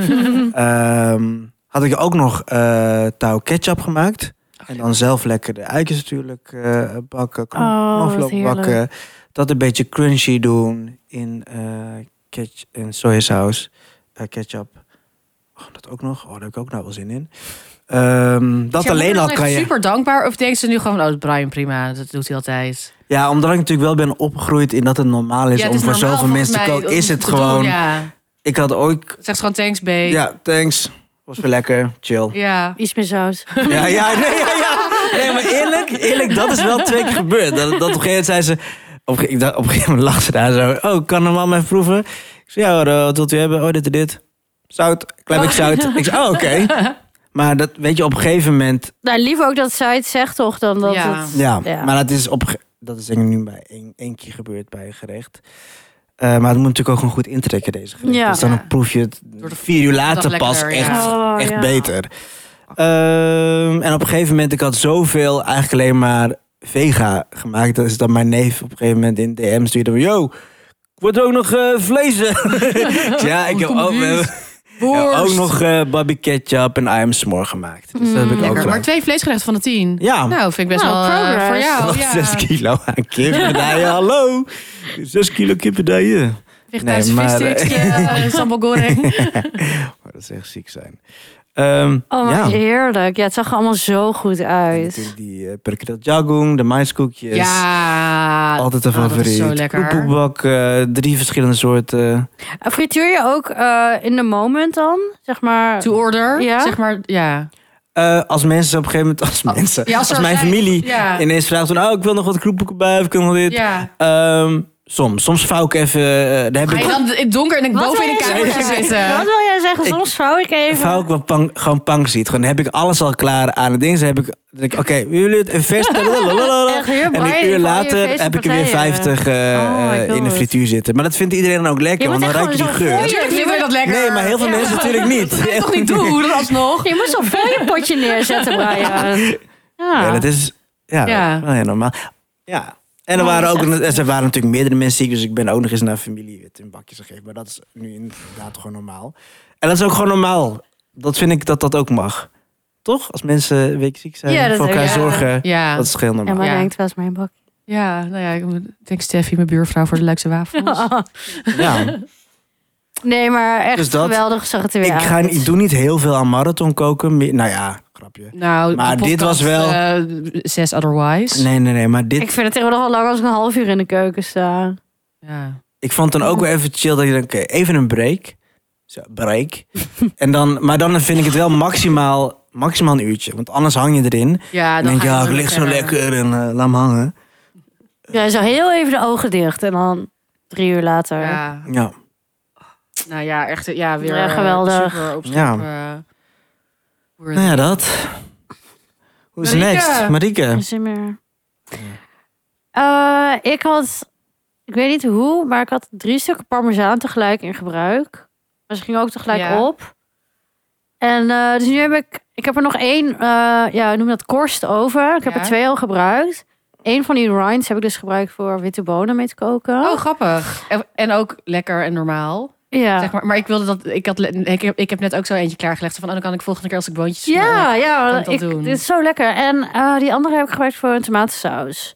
Speaker 1: ehm, had ik ook nog eh touw ketchup gemaakt. En dan zelf lekker de eitjes natuurlijk eh, bakken, kno-
Speaker 3: Oh, wat
Speaker 1: knoflook
Speaker 3: heerlijk.
Speaker 1: bakken. Dat een beetje crunchy doen in, eh ketch- in sojasaus, eh, ketchup. Oh, dat ook nog? Oh, daar heb ik ook nou wel zin in. Ehm, dat
Speaker 2: Is jouw
Speaker 1: alleen
Speaker 2: moeder
Speaker 1: al
Speaker 2: dan
Speaker 1: kan
Speaker 2: echt
Speaker 1: je...
Speaker 2: super dankbaar. Of denkt ze nu gewoon, oh, dat Brian prima. Dat doet hij altijd.
Speaker 1: Ja, omdat ik natuurlijk wel ben opgegroeid in dat het normaal is
Speaker 2: ja,
Speaker 1: om voor
Speaker 2: normaal
Speaker 1: zoveel
Speaker 2: volgens
Speaker 1: mensen te
Speaker 2: mij
Speaker 1: koken.
Speaker 2: om
Speaker 1: Is het
Speaker 2: te doen,
Speaker 1: gewoon...
Speaker 2: Ja.
Speaker 1: Ik had ook
Speaker 2: Zegt gewoon thanks, babe.
Speaker 1: Ja, thanks. Was weer lekker, chill.
Speaker 2: Ja.
Speaker 3: Iets meer zout.
Speaker 1: Ja, ja, nee, ja, ja. Nee, maar eerlijk, eerlijk, dat is wel twee keer gebeurd. Dat, dat op een gegeven moment zei ze... Op, een ge- ik dacht- op een gegeven moment lag ze daar zo. Oh, kan een man even proeven? Ik zei, ja hoor, eh, wat wilt u hebben? Oh, dit en dit. Zout, klein beetje zout. Ik zei, oh, oké. Maar dat, weet je, op een gegeven moment...
Speaker 3: Nou, liever ook dat zij het zegt toch dan dat
Speaker 2: Ja.
Speaker 3: het...
Speaker 1: Ja,
Speaker 3: Ja.
Speaker 1: maar dat is, op, een ge- dat is denk ik nu bij één, één keer gebeurd bij een gerecht. Eh, maar het moet natuurlijk ook gewoon goed intrekken, deze gerecht.
Speaker 3: Ja.
Speaker 1: Dus dan
Speaker 2: Ja.
Speaker 1: proef je het
Speaker 2: de-
Speaker 1: vier uur later
Speaker 2: dat
Speaker 1: pas
Speaker 2: lekkerder,
Speaker 1: echt,
Speaker 3: ja. Oh,
Speaker 1: echt
Speaker 3: ja.
Speaker 1: beter. Ehm, en op een gegeven moment, ik had zoveel eigenlijk alleen maar vega gemaakt. Dat is dat mijn neef op een gegeven moment in DM
Speaker 3: Oh,
Speaker 1: stuurde van... Yo, wordt er ook nog eh vlees? eh?" Ik zei, ja, ik heb ook...
Speaker 2: Concubuus.
Speaker 1: Ja, ook
Speaker 2: Worst.
Speaker 1: nog eh Bobby Ketchup en I Am S'more gemaakt. Dus dat heb ik
Speaker 3: Mm,
Speaker 1: ook
Speaker 2: Lekker. Maar
Speaker 1: gedaan.
Speaker 2: twee vleesgerechten van de tien.
Speaker 1: Ja,
Speaker 2: Nou, vind ik best
Speaker 3: Nou,
Speaker 2: wel eh,
Speaker 3: progress.
Speaker 2: voor jou.
Speaker 1: nog
Speaker 2: Ja.
Speaker 1: zes kilo aan kippendijen. Hallo, zes kilo kippendijen.
Speaker 2: Vegetarische
Speaker 1: Nee, maar,
Speaker 2: visstukje, eh, sambal goreng.
Speaker 1: Maar dat is echt ziek zijn. Ehm,
Speaker 3: Oh,
Speaker 1: ja,
Speaker 3: wat heerlijk. Ja, het zag er allemaal zo goed
Speaker 1: En
Speaker 3: uit.
Speaker 1: natuurlijk die eh perkedel jagung, de maiskoekjes.
Speaker 2: Ja.
Speaker 1: Altijd een
Speaker 2: Ah, dat is
Speaker 1: favoriet.
Speaker 2: zo lekker.
Speaker 1: Koekoekbak, eh, drie verschillende soorten.
Speaker 3: En Frituur je ook eh, in the moment dan? Zeg maar.
Speaker 2: To order,
Speaker 3: Ja?
Speaker 2: zeg maar. Ja.
Speaker 1: Eh, als mensen op een gegeven moment, als mensen,
Speaker 2: Oh, ja, als
Speaker 1: als,
Speaker 2: er
Speaker 1: mijn
Speaker 2: zijn-
Speaker 1: familie
Speaker 2: ja.
Speaker 1: ineens vraagt van, oh, ik wil nog wat kroepkoeken bij, of ik wil nog dit.
Speaker 2: ja.
Speaker 1: Ehm, soms, soms vouw ik even, eh, daar heb
Speaker 2: Ga
Speaker 1: ik
Speaker 2: je dan in het donker en ik
Speaker 3: Wat
Speaker 2: boven in
Speaker 3: wil
Speaker 2: de
Speaker 3: jij
Speaker 2: kamer
Speaker 3: zeggen? Wat
Speaker 2: zitten?
Speaker 3: wil jij zeggen?
Speaker 1: Ik-
Speaker 3: Soms vouw ik even.
Speaker 1: Vouw ik wat pang, gewoon pang ziet. Gewoon heb ik alles al klaar aan het ding. Dan heb ik, dan denk ik, oké, willen jullie het een vest? Lalalala.
Speaker 3: Echt heel
Speaker 1: en
Speaker 3: Brian,
Speaker 1: een
Speaker 3: die
Speaker 1: uur
Speaker 3: van je
Speaker 1: later
Speaker 3: feest-
Speaker 1: heb ik er weer
Speaker 3: partijen.
Speaker 1: 50 eh,
Speaker 3: Oh my
Speaker 1: eh, in de
Speaker 3: God.
Speaker 1: frituur zitten. Maar dat vindt iedereen ook lekker,
Speaker 3: Je moet
Speaker 1: want dan ruik
Speaker 3: echt
Speaker 1: je die
Speaker 3: gewoon
Speaker 1: geur.
Speaker 3: zo'n
Speaker 2: Tuurlijk vinden we dat lekker.
Speaker 1: Nee, maar heel veel
Speaker 2: Ja.
Speaker 1: mensen natuurlijk niet.
Speaker 2: Dat ga je toch niet doen, alsnog?
Speaker 3: Je moet zo'n fooiepotje neerzetten, Brian. Ja.
Speaker 1: Ja, dat is ja,
Speaker 2: Ja.
Speaker 1: wel heel normaal. Ja. En er
Speaker 3: Oh,
Speaker 1: waren,
Speaker 3: dat
Speaker 1: ook,
Speaker 3: is
Speaker 1: en er waren natuurlijk meerdere mensen ziek, dus ik ben ook nog eens naar familie wit in bakjes gegeven. Maar dat is nu inderdaad gewoon normaal. En dat is ook gewoon normaal. Dat vind ik dat dat ook mag. Toch? Als mensen een week ziek zijn,
Speaker 3: Ja, dat
Speaker 1: voor elkaar
Speaker 3: ook, ja.
Speaker 1: zorgen.
Speaker 2: Ja.
Speaker 1: Dat is heel normaal.
Speaker 3: En wat
Speaker 2: Ja.
Speaker 3: denkt, was mijn bak?
Speaker 2: Ja, nou ja, ik denk Steffi, mijn buurvrouw voor de Luikse
Speaker 1: Nou,
Speaker 2: wafels.
Speaker 1: Ja.
Speaker 3: Nee, maar echt
Speaker 1: Dus dat-
Speaker 3: geweldig zag het er weer
Speaker 1: Ik, ga,
Speaker 3: uit.
Speaker 1: ik doe niet heel veel aan marathon koken. meer- Nou ja, grapje.
Speaker 2: Nou,
Speaker 1: Maar
Speaker 2: de
Speaker 1: dit
Speaker 2: podcast,
Speaker 1: was wel-
Speaker 2: eh, zes otherwise.
Speaker 1: Nee, nee, nee. Maar
Speaker 3: Ik
Speaker 1: dit,
Speaker 3: vind het tegenwoordig al lang als ik een half uur in de keuken sta.
Speaker 2: Ja.
Speaker 1: ik vond dan ook wel even chill dat je denkt, oké, even een break. Zo, break. en dan, maar dan vind ik het wel maximaal, maximaal een uurtje. Want anders hang je erin.
Speaker 2: Ja,
Speaker 1: En
Speaker 2: dan
Speaker 1: denk je,
Speaker 2: ga je
Speaker 1: ja, ik
Speaker 2: wel
Speaker 1: lig zo
Speaker 2: verder.
Speaker 1: lekker en eh, laat me hangen.
Speaker 3: Ja, zo heel even de ogen dicht en dan drie uur later.
Speaker 2: Ja,
Speaker 1: Ja.
Speaker 2: nou ja, echt ja, weer
Speaker 3: Ja,
Speaker 2: eh,
Speaker 3: geweldig.
Speaker 2: Super op stap,
Speaker 1: Ja.
Speaker 2: eh, worthy.
Speaker 1: Nou ja, dat. Hoe is
Speaker 2: Marieke.
Speaker 1: next? Marieke.
Speaker 3: Geen zin meer. Eh, ik had, ik weet niet hoe, maar ik had drie stukken parmezaan tegelijk in gebruik. Maar ze gingen ook tegelijk
Speaker 2: Ja.
Speaker 3: op. En eh, dus nu heb ik, ik heb er nog één, eh, ja, noem dat korst over. Ik heb
Speaker 2: Ja.
Speaker 3: er twee al gebruikt. Eén van die rinds heb ik dus gebruikt voor witte bonen mee te koken.
Speaker 2: Oh, grappig. En- En ook lekker en normaal.
Speaker 3: ja.
Speaker 2: Zeg maar. maar ik wilde dat. Ik, had, le- ik, heb, ik heb net ook zo eentje klaargelegd. Van, oh, dan kan ik volgende keer als ik boontjes maak.
Speaker 3: Ja, ja,
Speaker 2: kan ik dat
Speaker 3: ik,
Speaker 2: doen?
Speaker 3: dit is zo lekker. En eh, die andere heb ik gebruikt voor een tomatensaus.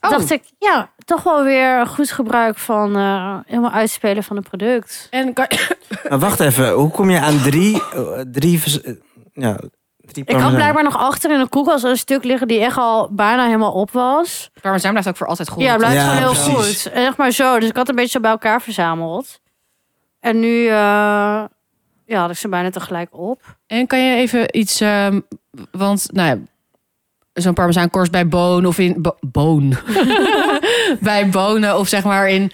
Speaker 2: Oh.
Speaker 3: Dacht ik, ja, toch wel weer goed gebruik van eh, helemaal uitspelen van het product.
Speaker 2: En kan,
Speaker 1: Maar wacht even, hoe kom je aan drie... eh, drie vers- eh, Oh, ja, drie
Speaker 3: Ik had
Speaker 1: parmezaan?
Speaker 3: blijkbaar nog achter in de koelkast een stuk liggen die echt al bijna helemaal op was.
Speaker 2: parmezaan blijft ook voor altijd goed.
Speaker 3: Ja, het blijft
Speaker 1: Ja,
Speaker 3: gewoon heel
Speaker 1: precies.
Speaker 3: goed. En Echt maar zo. Dus ik had een beetje zo bij elkaar verzameld. En nu eh, ja, had ik ze bijna tegelijk op.
Speaker 2: En kan je even iets, ehm, want nou ja, zo'n parmezaankorst bij boon of in bo- boon bij bonen of zeg maar in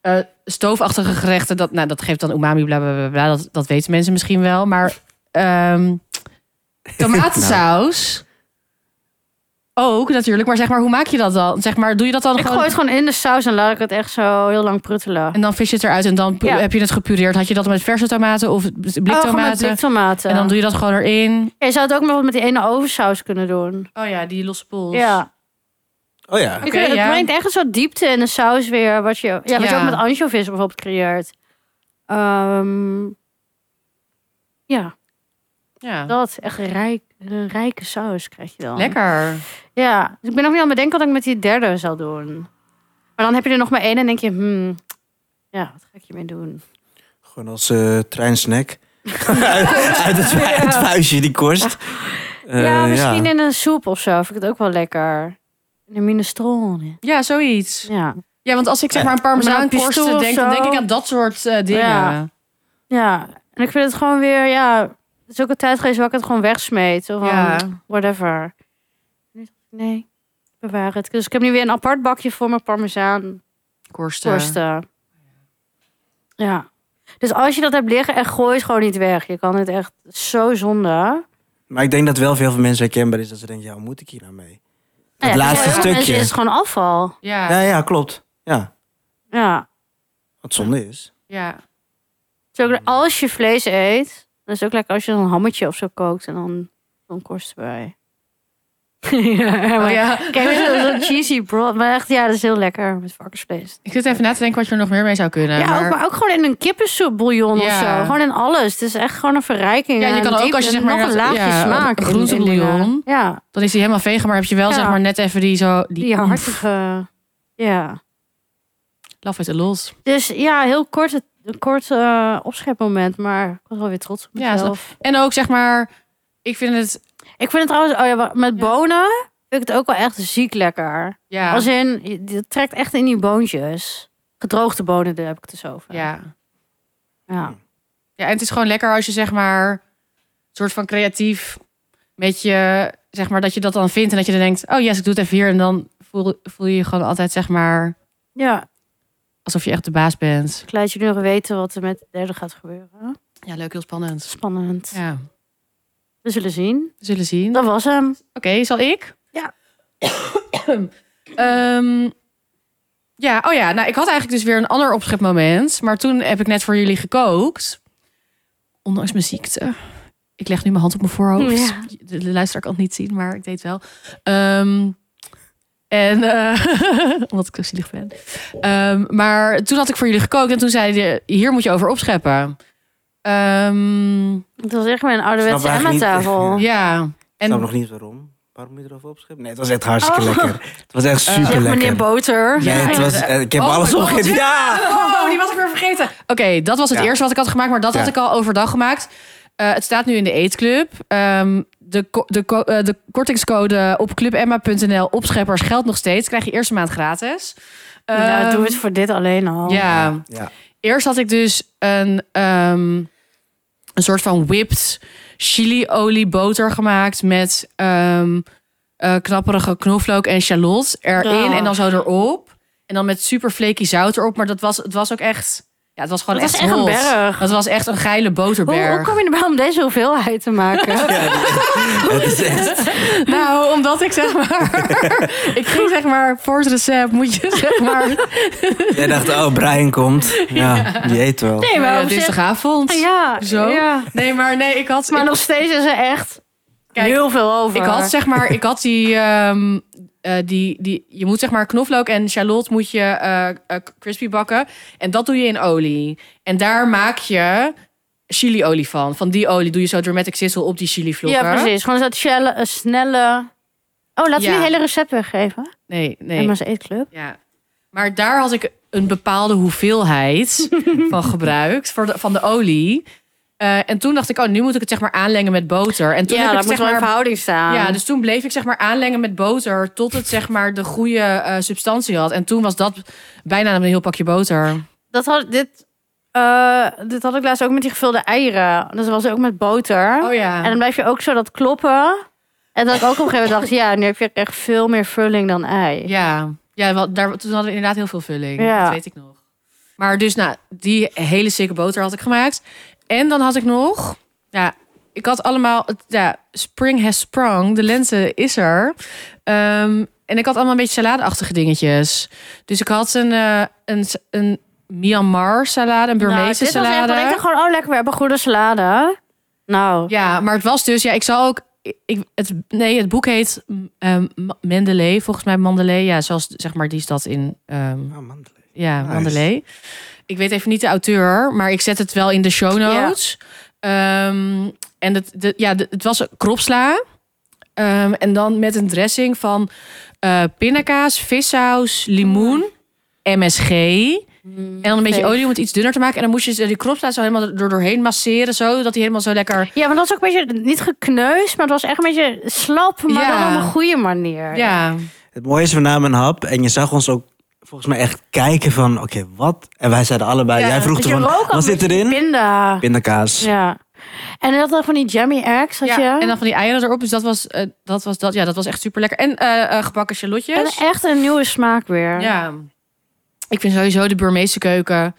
Speaker 2: eh, stoofachtige gerechten dat nou dat geeft dan umami bla bla bla, bla dat dat weten mensen misschien wel, maar ehm, tomatensaus ook natuurlijk, maar zeg maar hoe maak je dat dan? Zeg maar doe je dat dan
Speaker 3: Nou. Ik
Speaker 2: gewoon
Speaker 3: gooi het gewoon in de saus en laat ik het echt zo heel lang pruttelen.
Speaker 2: en dan vis je het eruit en dan pu-
Speaker 3: Ja.
Speaker 2: heb je het gepureerd. Had je dat met verse tomaten of
Speaker 3: Oh, gewoon met
Speaker 2: bliktomaten?
Speaker 3: bliktomaten.
Speaker 2: en dan doe je dat gewoon erin.
Speaker 3: Je zou het ook nog met die ene oversaus kunnen doen.
Speaker 2: Oh ja, die losse pols.
Speaker 3: Ja.
Speaker 1: Oh ja.
Speaker 3: Je kunt- het
Speaker 2: ja.
Speaker 3: brengt echt een soort diepte in de saus weer. Wat je, ja, wat je
Speaker 2: Ja.
Speaker 3: ook met anchovies bijvoorbeeld creëert. Ehm, ja,
Speaker 2: Ja.
Speaker 3: dat. Echt een rijk, een rijke saus krijg je dan.
Speaker 2: Lekker.
Speaker 3: Ja. Dus ik ben nog niet aan het bedenken wat ik met die derde zou doen. Maar dan heb je er nog maar één en denk je... Hmm, ja, wat ga ik hiermee doen?
Speaker 1: Gewoon als eh, treinsnack. uit, het, uit het vuistje, die korst. Eh,
Speaker 3: ja, misschien in een soep of zo. Vind ik het ook wel lekker. In een minestrone.
Speaker 2: Ja, zoiets.
Speaker 3: Ja.
Speaker 2: Ja, want als ik zeg maar een
Speaker 3: Met een
Speaker 2: parmezaankorsten denk,
Speaker 3: pistool of
Speaker 2: dan denk
Speaker 3: zo.
Speaker 2: ik aan dat soort eh, dingen.
Speaker 3: Ja. Ja, en ik vind het gewoon weer, ja, het is ook een tijd geweest waar ik het gewoon wegsmeet. Of
Speaker 2: Ja.
Speaker 3: van, whatever. Nee, bewaar het. Dus ik heb nu weer een apart bakje voor mijn parmezaan
Speaker 2: Korsten.
Speaker 3: korsten. Ja. Dus als je dat hebt liggen en gooi het gewoon niet weg. Je kan het echt zo zonde.
Speaker 1: Maar ik denk dat wel voor heel veel mensen herkenbaar is dat ze denken, ja, hoe moet ik hier nou mee? Het
Speaker 3: Nou ja,
Speaker 1: laatste
Speaker 3: voor heel veel mensen
Speaker 1: stukje.
Speaker 3: is het gewoon afval.
Speaker 2: Ja.
Speaker 1: Ja,
Speaker 2: ja.
Speaker 1: ja, klopt. Ja,
Speaker 3: Ja.
Speaker 1: wat zonde is.
Speaker 3: Dus
Speaker 1: Hmm.
Speaker 3: ook als je vlees eet, dan is het ook lekker als je een hammetje of zo kookt en dan een korst erbij. ja, maar
Speaker 2: Oh ja.
Speaker 3: Kijk, met zo'n zo'n cheesy broth. Maar echt, ja, dat is heel lekker met varkensvlees.
Speaker 2: Ik zit even na te denken wat je er nog meer mee zou kunnen.
Speaker 3: ja,
Speaker 2: maar-
Speaker 3: ook, maar ook gewoon in een kippensoep bouillon of
Speaker 2: Ja.
Speaker 3: zo. Gewoon in alles. Het is echt gewoon een verrijking.
Speaker 2: Ja, je
Speaker 3: En
Speaker 2: kan ook
Speaker 3: diep-
Speaker 2: als je
Speaker 3: en
Speaker 2: zeg maar
Speaker 3: nog een
Speaker 2: inderdaad-
Speaker 3: laagje
Speaker 2: ja,
Speaker 3: smaak
Speaker 2: een
Speaker 3: in- in
Speaker 2: groentebouillon.
Speaker 3: dingen. Ja,
Speaker 2: Dan is hij helemaal vegan, maar heb je wel
Speaker 3: Ja.
Speaker 2: zeg maar net even die zo...
Speaker 3: die
Speaker 2: oef,
Speaker 3: hartige... Ja.
Speaker 2: Love is a los.
Speaker 3: Dus ja, heel kort, het- een kort eh, opschepmoment. Maar ik was wel weer trots op
Speaker 2: Ja,
Speaker 3: mezelf.
Speaker 2: En ook zeg maar, ik vind het...
Speaker 3: ik vind het trouwens... Oh ja, wa- met bonen vind ik het ook wel echt ziek lekker.
Speaker 2: Ja,
Speaker 3: Als in, je- het trekt echt in die boontjes. Gedroogde bonen, daar heb ik het dus over.
Speaker 2: ja.
Speaker 3: ja.
Speaker 2: Ja, en het is gewoon lekker als je zeg maar soort van creatief met je zeg maar dat je dat dan vindt en dat je dan denkt, oh yes, ik doe het even hier en dan voel, voel je je gewoon altijd zeg maar
Speaker 3: Ja,
Speaker 2: alsof je echt de baas bent.
Speaker 3: ik laat jullie nog weten wat er met de derde gaat gebeuren.
Speaker 2: Ja, leuk, heel spannend.
Speaker 3: Spannend.
Speaker 2: Ja,
Speaker 3: We zullen zien.
Speaker 2: we zullen zien. Oké,
Speaker 3: Dat was hem.
Speaker 2: zal ik?
Speaker 3: Ja.
Speaker 2: Ehm, ja, oh ja, nou ik had eigenlijk dus weer een ander opschepmoment, maar toen heb ik net voor jullie gekookt, ondanks mijn ziekte. Ik leg nu mijn hand op mijn voorhoofd.
Speaker 3: Ja.
Speaker 2: de, de luisteraar kan het niet zien, maar ik deed het wel. Ehm, en eh, omdat ik zo zielig ben. Ehm, maar toen had ik voor jullie gekookt en toen zei je, hier moet je over opscheppen. Ehm,
Speaker 3: Het was echt mijn ouderwetse
Speaker 1: Snap eigenlijk niet.
Speaker 3: Emma-tafel.
Speaker 1: Ja.
Speaker 2: ja.
Speaker 1: Ik
Speaker 2: En
Speaker 1: snap nog niet waarom. Waarom moet je erover opscheppen? Nee, het was echt hartstikke
Speaker 3: Oh.
Speaker 1: lekker. Het was echt
Speaker 2: Eh,
Speaker 1: super
Speaker 3: Zeg,
Speaker 1: lekker.
Speaker 3: meneer Boter.
Speaker 1: Nee, het was, eh, ik heb
Speaker 2: Oh
Speaker 1: alles
Speaker 2: my God.
Speaker 1: opgegeten. Ja!
Speaker 2: Oh, die was ik weer vergeten. Oké, dat was het
Speaker 1: Ja.
Speaker 2: eerste wat ik had gemaakt, maar dat
Speaker 1: Ja.
Speaker 2: had ik al overdag gemaakt. Eh, het staat nu in de eetclub. Ehm, de, ko- de, ko- eh, de kortingscode op clubemma.nl opscheppers geldt nog steeds. Krijg je eerste maand gratis.
Speaker 3: nou,
Speaker 2: Ehm,
Speaker 3: doe het voor dit alleen al.
Speaker 2: Ja.
Speaker 1: Ja.
Speaker 2: Eerst had ik dus een, ehm, een soort van whipped chiliolie boter gemaakt met ehm eh, knapperige knoflook en shallot erin
Speaker 3: Ja.
Speaker 2: en dan zo erop. En dan met super flaky zout erop. Maar dat was, het was ook echt... Ja, het was gewoon
Speaker 3: Het
Speaker 2: echt
Speaker 3: was echt een
Speaker 2: rot.
Speaker 3: berg.
Speaker 2: Het was echt een geile
Speaker 3: Hoe,
Speaker 2: boterberg.
Speaker 3: hoe kom je erbij om deze hoeveelheid te maken?
Speaker 1: Het is echt...
Speaker 2: Nou, omdat ik zeg maar... ik ging zeg maar voor het recept moet je zeg maar...
Speaker 1: Jij dacht, oh, Brian komt. Ja, die eet wel.
Speaker 3: Nee, maar
Speaker 2: Ja,
Speaker 3: op zich...
Speaker 2: Eh, dinsdagavond.
Speaker 3: Ja,
Speaker 2: Zo?
Speaker 3: ja.
Speaker 2: Nee, maar nee, ik had...
Speaker 3: Maar
Speaker 2: ik-
Speaker 3: nog steeds is er echt
Speaker 2: Kijk,
Speaker 3: heel veel over.
Speaker 2: Ik had zeg maar, ik had die, ehm, eh, die, die, je moet zeg maar knoflook en shallot moet je eh, eh, crispy bakken. En dat doe je in olie. En daar maak je chiliolie van. Van die olie doe je zo dramatic sizzle op die chili vlokken.
Speaker 3: Ja, precies. Gewoon dat snelle... eh, snelle... Oh, laten
Speaker 2: Ja.
Speaker 3: we die hele recept weggeven.
Speaker 2: Nee, nee.
Speaker 3: Emma's Eetclub.
Speaker 2: Ja. Maar daar had ik een bepaalde hoeveelheid van gebruikt, voor de, van de olie. Eh, en toen dacht ik, oh, nu moet ik het zeg maar aanlengen met boter. En toen
Speaker 3: Ja,
Speaker 2: heb
Speaker 3: dat
Speaker 2: ik het
Speaker 3: moet wel
Speaker 2: zeg
Speaker 3: in
Speaker 2: maar
Speaker 3: verhouding staan.
Speaker 2: Ja, dus toen bleef ik zeg maar aanlengen met boter tot het zeg maar de goede eh, substantie had. En toen was dat bijna een heel pakje boter.
Speaker 3: Dat had, dit, eh, dit had ik laatst ook met die gevulde eieren. Dus Dat was ook met boter.
Speaker 2: Oh ja.
Speaker 3: En dan blijf je ook zo dat kloppen. En dat ik ook op een gegeven moment dacht, ja, nu heb je echt veel meer vulling dan ei.
Speaker 2: Ja, ja wel, daar, toen hadden we inderdaad heel veel vulling.
Speaker 3: Ja.
Speaker 2: Dat weet ik nog. Maar dus nou, die hele sikke boter had ik gemaakt. En dan had ik nog, ja, ik had allemaal, het- ja, spring has sprung, de lente is er. Ehm, en ik had allemaal een beetje saladeachtige dingetjes. Dus ik had een, eh, een, een Myanmar salade, een Burmeese
Speaker 3: Nou, dit was echt,
Speaker 2: salade.
Speaker 3: want ik dacht gewoon, oh lekker, we hebben goede salade. Nou,
Speaker 2: Ja, maar het was dus, ja, ik zal ook. Ik, het, nee, het boek heet ehm, Ma- Mendeley, volgens mij Mandelay. Ja, zoals zeg maar die stad in. ehm,
Speaker 1: Oh, mandelen.
Speaker 2: ja,
Speaker 1: Nice.
Speaker 2: Mandelay. Ik weet even niet de auteur, maar ik zet het wel in de show notes. Ehm, en het, de, ja, de- het was kropsla. Ehm, en dan met een dressing van eh pindakaas, vissaus, limoen, MSG. En dan een beetje
Speaker 3: Leuk.
Speaker 2: olie om het iets dunner te maken. En dan moest je die kropsla zo helemaal er doorheen masseren. Zo, dat hij helemaal zo lekker
Speaker 3: ja, maar dat was ook een beetje, niet gekneusd, maar het was echt een beetje slap, maar
Speaker 2: Ja.
Speaker 3: dan op een goede manier.
Speaker 2: Ja,
Speaker 1: Het mooie is, we namen een hap en je zag ons ook volgens mij echt kijken van, oké, wat? En wij zeiden allebei,
Speaker 2: Ja,
Speaker 1: jij vroeg
Speaker 3: Want je
Speaker 1: toen van,
Speaker 3: rook al
Speaker 1: wat
Speaker 3: met
Speaker 1: zit
Speaker 3: die
Speaker 1: erin?
Speaker 3: Pinda.
Speaker 1: Pindakaas.
Speaker 3: Ja. En dat dan van die jammy eggs, had
Speaker 2: ja.
Speaker 3: je?
Speaker 2: En dan van die eieren erop. Dus dat was, eh, dat, was dat, ja, dat was echt super lekker. En eh, eh, gebakken
Speaker 3: En
Speaker 2: shallotjes.
Speaker 3: echt een nieuwe smaak weer.
Speaker 2: ja. Ik vind sowieso de Burmeese keuken.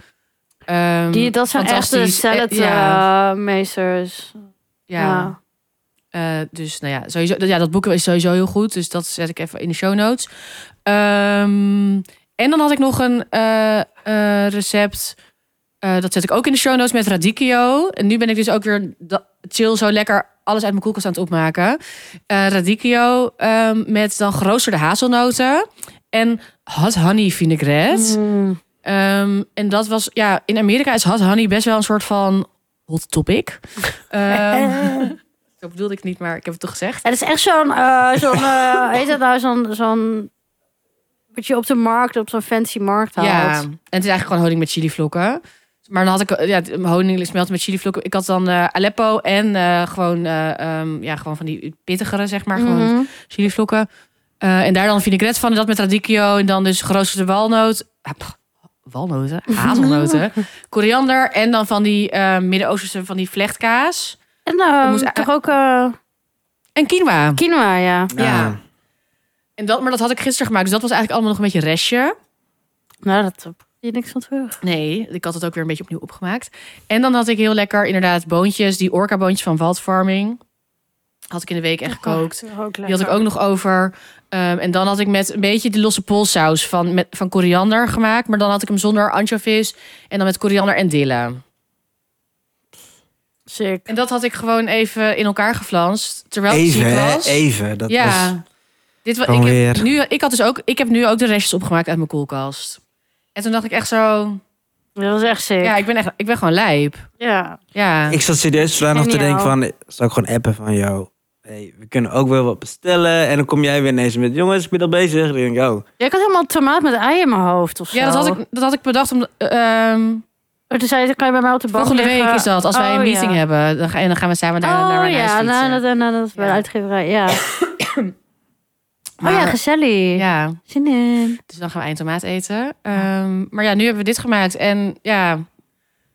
Speaker 2: ehm,
Speaker 3: Die, dat zijn echt de
Speaker 2: fantastisch.
Speaker 3: salad
Speaker 2: Eh, ja,
Speaker 3: eh, meesters.
Speaker 2: ja. Eh, dus nou ja, sowieso, ja, dat boek is sowieso heel goed. Dus dat zet ik even in de show notes. Ehm, en dan had ik nog een eh, eh, recept Eh, dat zet ik ook in de show notes met Radicchio. En nu ben ik dus ook weer da- chill zo lekker alles uit mijn koelkast aan het opmaken. Eh radicchio ehm, met dan geroosterde hazelnoten en hot honey vinaigrette.
Speaker 3: Mm.
Speaker 2: Ehm, en dat was, ja, in Amerika is hot honey best wel een soort van hot topic. Ehm, dat bedoelde ik niet, maar ik heb het toch gezegd.
Speaker 3: Het is echt zo'n, eh zo'n eh, hoe heet dat nou, zo'n, zo'n, wat je op de markt, op zo'n fancy markt haalt.
Speaker 2: Ja, en het is eigenlijk gewoon honing met chilivlokken. Maar dan had ik, eh, ja, honing smelt met chilivlokken. Ik had dan eh, Aleppo en eh, gewoon, eh, ehm, ja, gewoon van die pittigere, zeg maar, gewoon
Speaker 3: Mhm.
Speaker 2: chilivlokken. Eh, en daar dan vinaigrette van. En dat met radicchio. En dan dus geroosterde walnoot. Ah, pff, walnoten? Hazelnoten. koriander. En dan van die eh Midden-Oosterse van die vlechtkaas.
Speaker 3: En eh,
Speaker 2: moest-
Speaker 3: toch ook eh,
Speaker 2: En quinoa.
Speaker 3: quinoa, ja.
Speaker 2: Ja. En dat, maar dat had ik gisteren gemaakt. Dus dat was eigenlijk allemaal nog een beetje restje.
Speaker 3: Nou, dat eh, je niks van terug.
Speaker 2: Nee, ik had het ook weer een beetje opnieuw opgemaakt. En dan had ik heel lekker inderdaad boontjes. Die orka-boontjes van Walt Farming. Had ik in de week echt gekookt. Die had ik ook nog over. Ehm, en dan had ik met een beetje de losse polsaus van, met, van koriander gemaakt. Maar dan had ik hem zonder anchovies. En dan met koriander en dille.
Speaker 3: Sick.
Speaker 2: En dat had ik gewoon even in elkaar geflanst. Terwijl ik ziek
Speaker 1: Even, hè?
Speaker 2: was.
Speaker 1: Even. Dat
Speaker 2: ja.
Speaker 1: was...
Speaker 2: Dit was, ik,
Speaker 1: gewoon
Speaker 2: heb
Speaker 1: weer-
Speaker 2: nu, ik, had dus ook, ik heb nu ook de restjes opgemaakt uit mijn koelkast. En toen dacht ik echt zo...
Speaker 3: Dat was echt sick.
Speaker 2: Ja,
Speaker 3: Ja.
Speaker 2: ik ben, echt, ik ben gewoon lijp. Ja.
Speaker 1: Ik zat serieus vandaag nog te denken van... Zou ik gewoon appen van, jou? hey, we kunnen ook wel wat bestellen. En dan kom jij weer ineens met... Jongens, ik ben al bezig. En denk ik, oh,
Speaker 3: Ja, Ik had helemaal tomaat met ei in mijn hoofd of zo.
Speaker 2: ja, dat had, ik, dat had ik bedacht om... ehm,
Speaker 3: Oh, Toen zei ze, kan je bij mij op de bank
Speaker 2: volgende week
Speaker 3: liggen?
Speaker 2: is dat. Als wij
Speaker 3: Oh,
Speaker 2: een meeting
Speaker 3: ja.
Speaker 2: hebben. Dan, ga- en dan gaan we samen naar, naar
Speaker 3: Oh
Speaker 2: mijn
Speaker 3: ja,
Speaker 2: huis
Speaker 3: nou,
Speaker 2: fietsen.
Speaker 3: dat, nou, dat is bij de
Speaker 2: Ja.
Speaker 3: uitgeverij, ja. oh ja,
Speaker 2: Maar-
Speaker 3: gezellig.
Speaker 2: Ja.
Speaker 3: Zin in.
Speaker 2: Dus dan gaan we eindtomaat eten. Ehm, maar ja, nu hebben we dit gemaakt. En ja,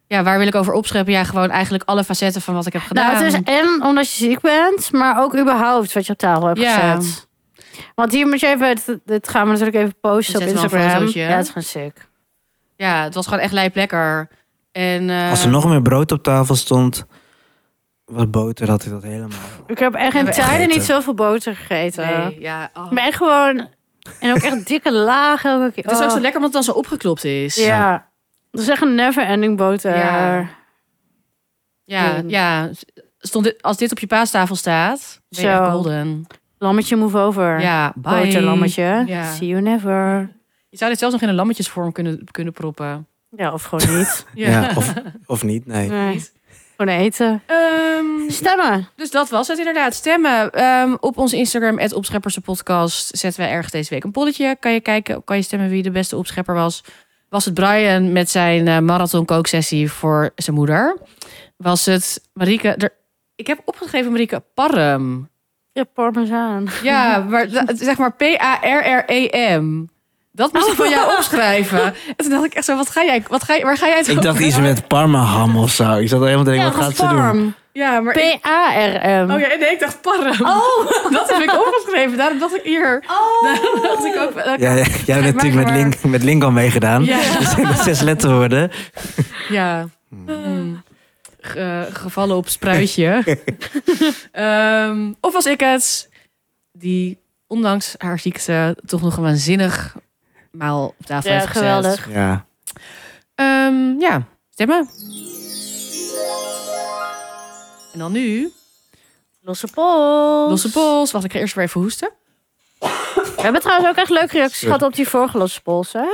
Speaker 2: ja, waar wil ik over opscheppen? Ja, gewoon eigenlijk alle facetten van wat ik heb gedaan.
Speaker 3: Nou, het is en omdat je ziek bent, maar ook überhaupt wat je op tafel hebt
Speaker 2: Ja.
Speaker 3: gezet. Want hier moet je even, dit, dit gaan we natuurlijk even
Speaker 2: We
Speaker 3: posten op
Speaker 2: zetten wel een
Speaker 3: Instagram.
Speaker 2: fotootje.
Speaker 3: Ja, het is gewoon sick.
Speaker 2: Ja, het was gewoon echt lijp lekker. En, eh,
Speaker 1: als er nog meer brood op tafel stond... Was boter, had ik dat helemaal.
Speaker 3: Ik heb echt in
Speaker 2: we-
Speaker 3: tijden niet
Speaker 1: Gegeten.
Speaker 3: zoveel boter gegeten.
Speaker 2: Nee, ja. oh.
Speaker 3: Maar echt gewoon, en ook echt dikke lagen. elke keer.
Speaker 2: Het is ook zo
Speaker 3: Oh.
Speaker 2: lekker omdat het dan zo opgeklopt is.
Speaker 3: Ja. Dat is echt een never ending boter.
Speaker 2: Ja. ja.
Speaker 3: Mm.
Speaker 2: ja. Stond dit, als dit op je paastafel staat, ben je
Speaker 3: Zo.
Speaker 2: echt golden.
Speaker 3: Lammetje move over.
Speaker 2: Ja, bye.
Speaker 3: Boterlammetje.
Speaker 2: Ja.
Speaker 3: See you never.
Speaker 2: Je zou dit zelfs nog in een lammetjesvorm kunnen, kunnen proppen.
Speaker 3: Ja, of gewoon niet.
Speaker 1: Ja, of, of niet, nee.
Speaker 3: nee. Gewoon eten.
Speaker 2: Ehm,
Speaker 3: Stemmen.
Speaker 2: Dus dat was het inderdaad. Stemmen Ehm, op onze Instagram, het Opschepperspodcast. Zetten wij ergens deze week een polletje. Kan je kijken, kan je stemmen wie de beste opschepper was? Was het Brian met zijn eh marathon kooksessie voor zijn moeder? Was het Marieke... Er, ik heb opgeschreven Marieke Parm.
Speaker 3: Ja, parmezaan.
Speaker 2: Ja, maar, da- zeg maar P-A-R-R-E-M. E Dat moest ik van
Speaker 3: Oh.
Speaker 2: jou opschrijven. En toen dacht ik echt zo, wat ga jij, wat ga, je- waar ga jij het
Speaker 1: Ik
Speaker 2: over-
Speaker 1: dacht iets met parmaham of zo. Ik zat helemaal te denken,
Speaker 3: Ja,
Speaker 1: wat gaat
Speaker 3: dat
Speaker 1: ze doen?
Speaker 3: parm.
Speaker 2: Ja, maar... ik-
Speaker 3: P-A-R-M.
Speaker 2: oh ja, nee, ik dacht Parm.
Speaker 3: Oh!
Speaker 2: Dat heb ik opgeschreven. Daarom dacht ik hier... Daarom dacht ik ook... eh,
Speaker 1: Ja, ja, jij hebt natuurlijk met
Speaker 2: maar.
Speaker 1: Link, met Link al meegedaan.
Speaker 2: Ja.
Speaker 1: Dus dat zes letterwoorden.
Speaker 2: Ja. Mm. Ge- gevallen op spruitje. Ehm, of was ik het die, ondanks haar ziekte, toch nog een waanzinnig maal op tafel
Speaker 3: Ja,
Speaker 2: heeft gezet.
Speaker 3: geweldig.
Speaker 1: Ja.
Speaker 2: Ehm, ja, stemmen. En dan nu,
Speaker 3: Losse pols.
Speaker 2: losse pols. Wacht, ik ga eerst weer even hoesten.
Speaker 3: We hebben trouwens ook echt leuke reacties
Speaker 1: Sorry.
Speaker 3: gehad op die vorige losse pols, hè?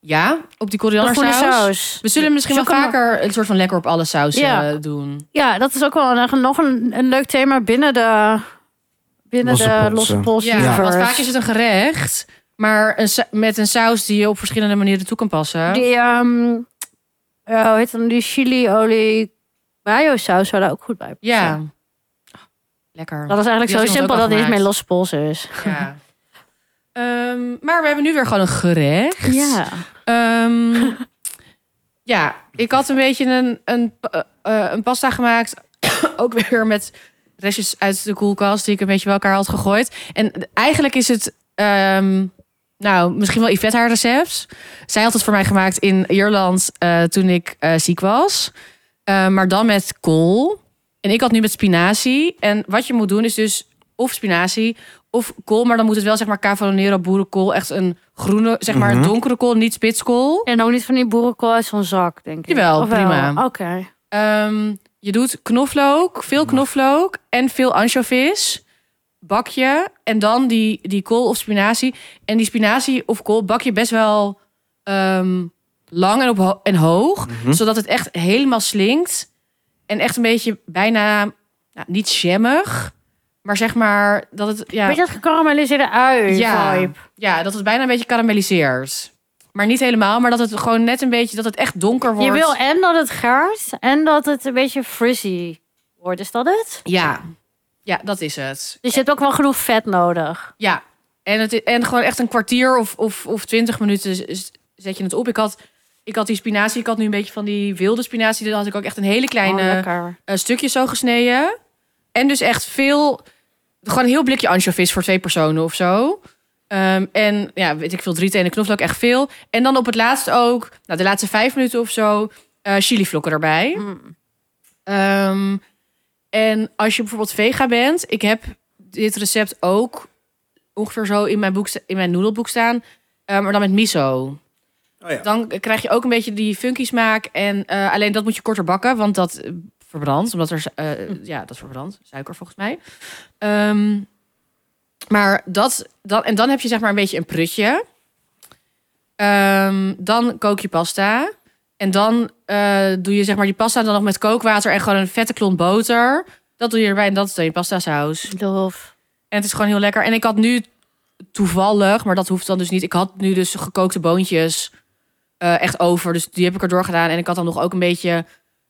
Speaker 2: Ja, op die
Speaker 3: De groene
Speaker 2: koriandersaus.
Speaker 3: saus.
Speaker 2: We zullen misschien wel
Speaker 3: Zoek hem op.
Speaker 2: vaker een soort van lekker op alle sausen
Speaker 3: Ja.
Speaker 2: eh, doen.
Speaker 3: Ja, dat is ook wel een, nog een, een leuk thema binnen de... Binnen
Speaker 1: Losse
Speaker 3: de
Speaker 1: polsen.
Speaker 3: losse pols
Speaker 2: Ja,
Speaker 3: universe.
Speaker 2: want vaak is het een gerecht, maar een sa- met een saus die je op verschillende manieren toe kan passen.
Speaker 3: Die, ehm eh, hoe heet dat? Die chili-olie mayo-saus zou daar ook goed bij passen.
Speaker 2: ja. Lekker.
Speaker 3: Dat is eigenlijk
Speaker 2: Die
Speaker 3: zo
Speaker 2: had iemand ook
Speaker 3: simpel
Speaker 2: al
Speaker 3: dat het niet meer
Speaker 2: gemaakt.
Speaker 3: losse pols is.
Speaker 2: Ja. Ehm, maar we hebben nu weer gewoon een gerecht.
Speaker 3: Ja.
Speaker 2: Ehm, ja, ik had een beetje een, een, pa- eh, een pasta gemaakt. ook weer met restjes uit de koelkast die ik een beetje bij elkaar had gegooid. En eigenlijk is het, ehm, nou, misschien wel Yvette haar recept. Zij had het voor mij gemaakt in Ierland eh, toen ik eh, ziek was. Eh, maar dan met kool. En ik had nu met spinazie. En wat je moet doen is dus of spinazie of kool. Maar dan moet het wel zeg maar cavolo nero boerenkool. Echt een groene, zeg maar
Speaker 1: Mhm.
Speaker 2: donkere kool, niet spitskool.
Speaker 3: En ook niet van die boerenkool uit zo'n zak, denk ik.
Speaker 2: Jawel,
Speaker 3: Of wel?
Speaker 2: prima.
Speaker 3: Oké.
Speaker 2: Ehm, je doet knoflook, veel knoflook en veel anchovies. Bak je en dan die, die kool of spinazie. En die spinazie of kool bak je best wel ehm, lang en, op ho- en hoog.
Speaker 1: Mhm.
Speaker 2: Zodat het echt helemaal slinkt. En echt een beetje bijna, nou, niet jammig. Maar zeg maar dat het... Ja,
Speaker 3: Beetje dat gekarameliseerde ui
Speaker 2: Ja.
Speaker 3: vibe.
Speaker 2: ja, dat het bijna een beetje karamelliseert. Maar niet helemaal, maar dat het gewoon net een beetje... dat het echt donker wordt.
Speaker 3: Je wil en dat het gaart en dat het een beetje frizzy wordt. Is dat het?
Speaker 2: Ja. ja, dat is het.
Speaker 3: Dus je hebt ook wel genoeg vet nodig.
Speaker 2: Ja, en, het, en gewoon echt een kwartier of, of, of twintig minuten z- z- zet je het op. Ik had, ik had die spinazie, ik had nu een beetje van die wilde spinazie. Dan had ik ook echt een hele
Speaker 3: Oh,
Speaker 2: kleine
Speaker 3: lekker.
Speaker 2: eh, stukjes zo gesneden. En dus echt veel, gewoon een heel blikje anchovies voor twee personen of zo. Ehm, en ja, weet ik veel, drie tenen knoflook, echt veel. En dan op het laatst ook, nou, de laatste vijf minuten of zo, eh chilivlokken erbij.
Speaker 3: Mm.
Speaker 2: Ehm, en als je bijvoorbeeld vega bent, ik heb dit recept ook ongeveer zo in mijn, boek, sta- in mijn noedelboek staan, eh, maar dan met miso.
Speaker 1: Oh ja.
Speaker 2: Dan krijg je ook een beetje die funky smaak en eh, alleen dat moet je korter bakken, want dat eh, verbrandt, omdat er, eh,
Speaker 1: Hm.
Speaker 2: ja, dat verbrandt, suiker volgens mij. Ehm, maar dat, dan, en dan heb je zeg maar een beetje een prutje. Ehm, dan kook je pasta. En dan eh, doe je zeg maar die pasta dan nog met kookwater en gewoon een vette klont boter. Dat doe je erbij en dat is dan je pasta saus.
Speaker 3: Doof.
Speaker 2: En het is gewoon heel lekker. En ik had nu toevallig, maar dat hoeft dan dus niet. Ik had nu dus gekookte boontjes eh, echt over. Dus die heb ik erdoor gedaan. En ik had dan nog ook een beetje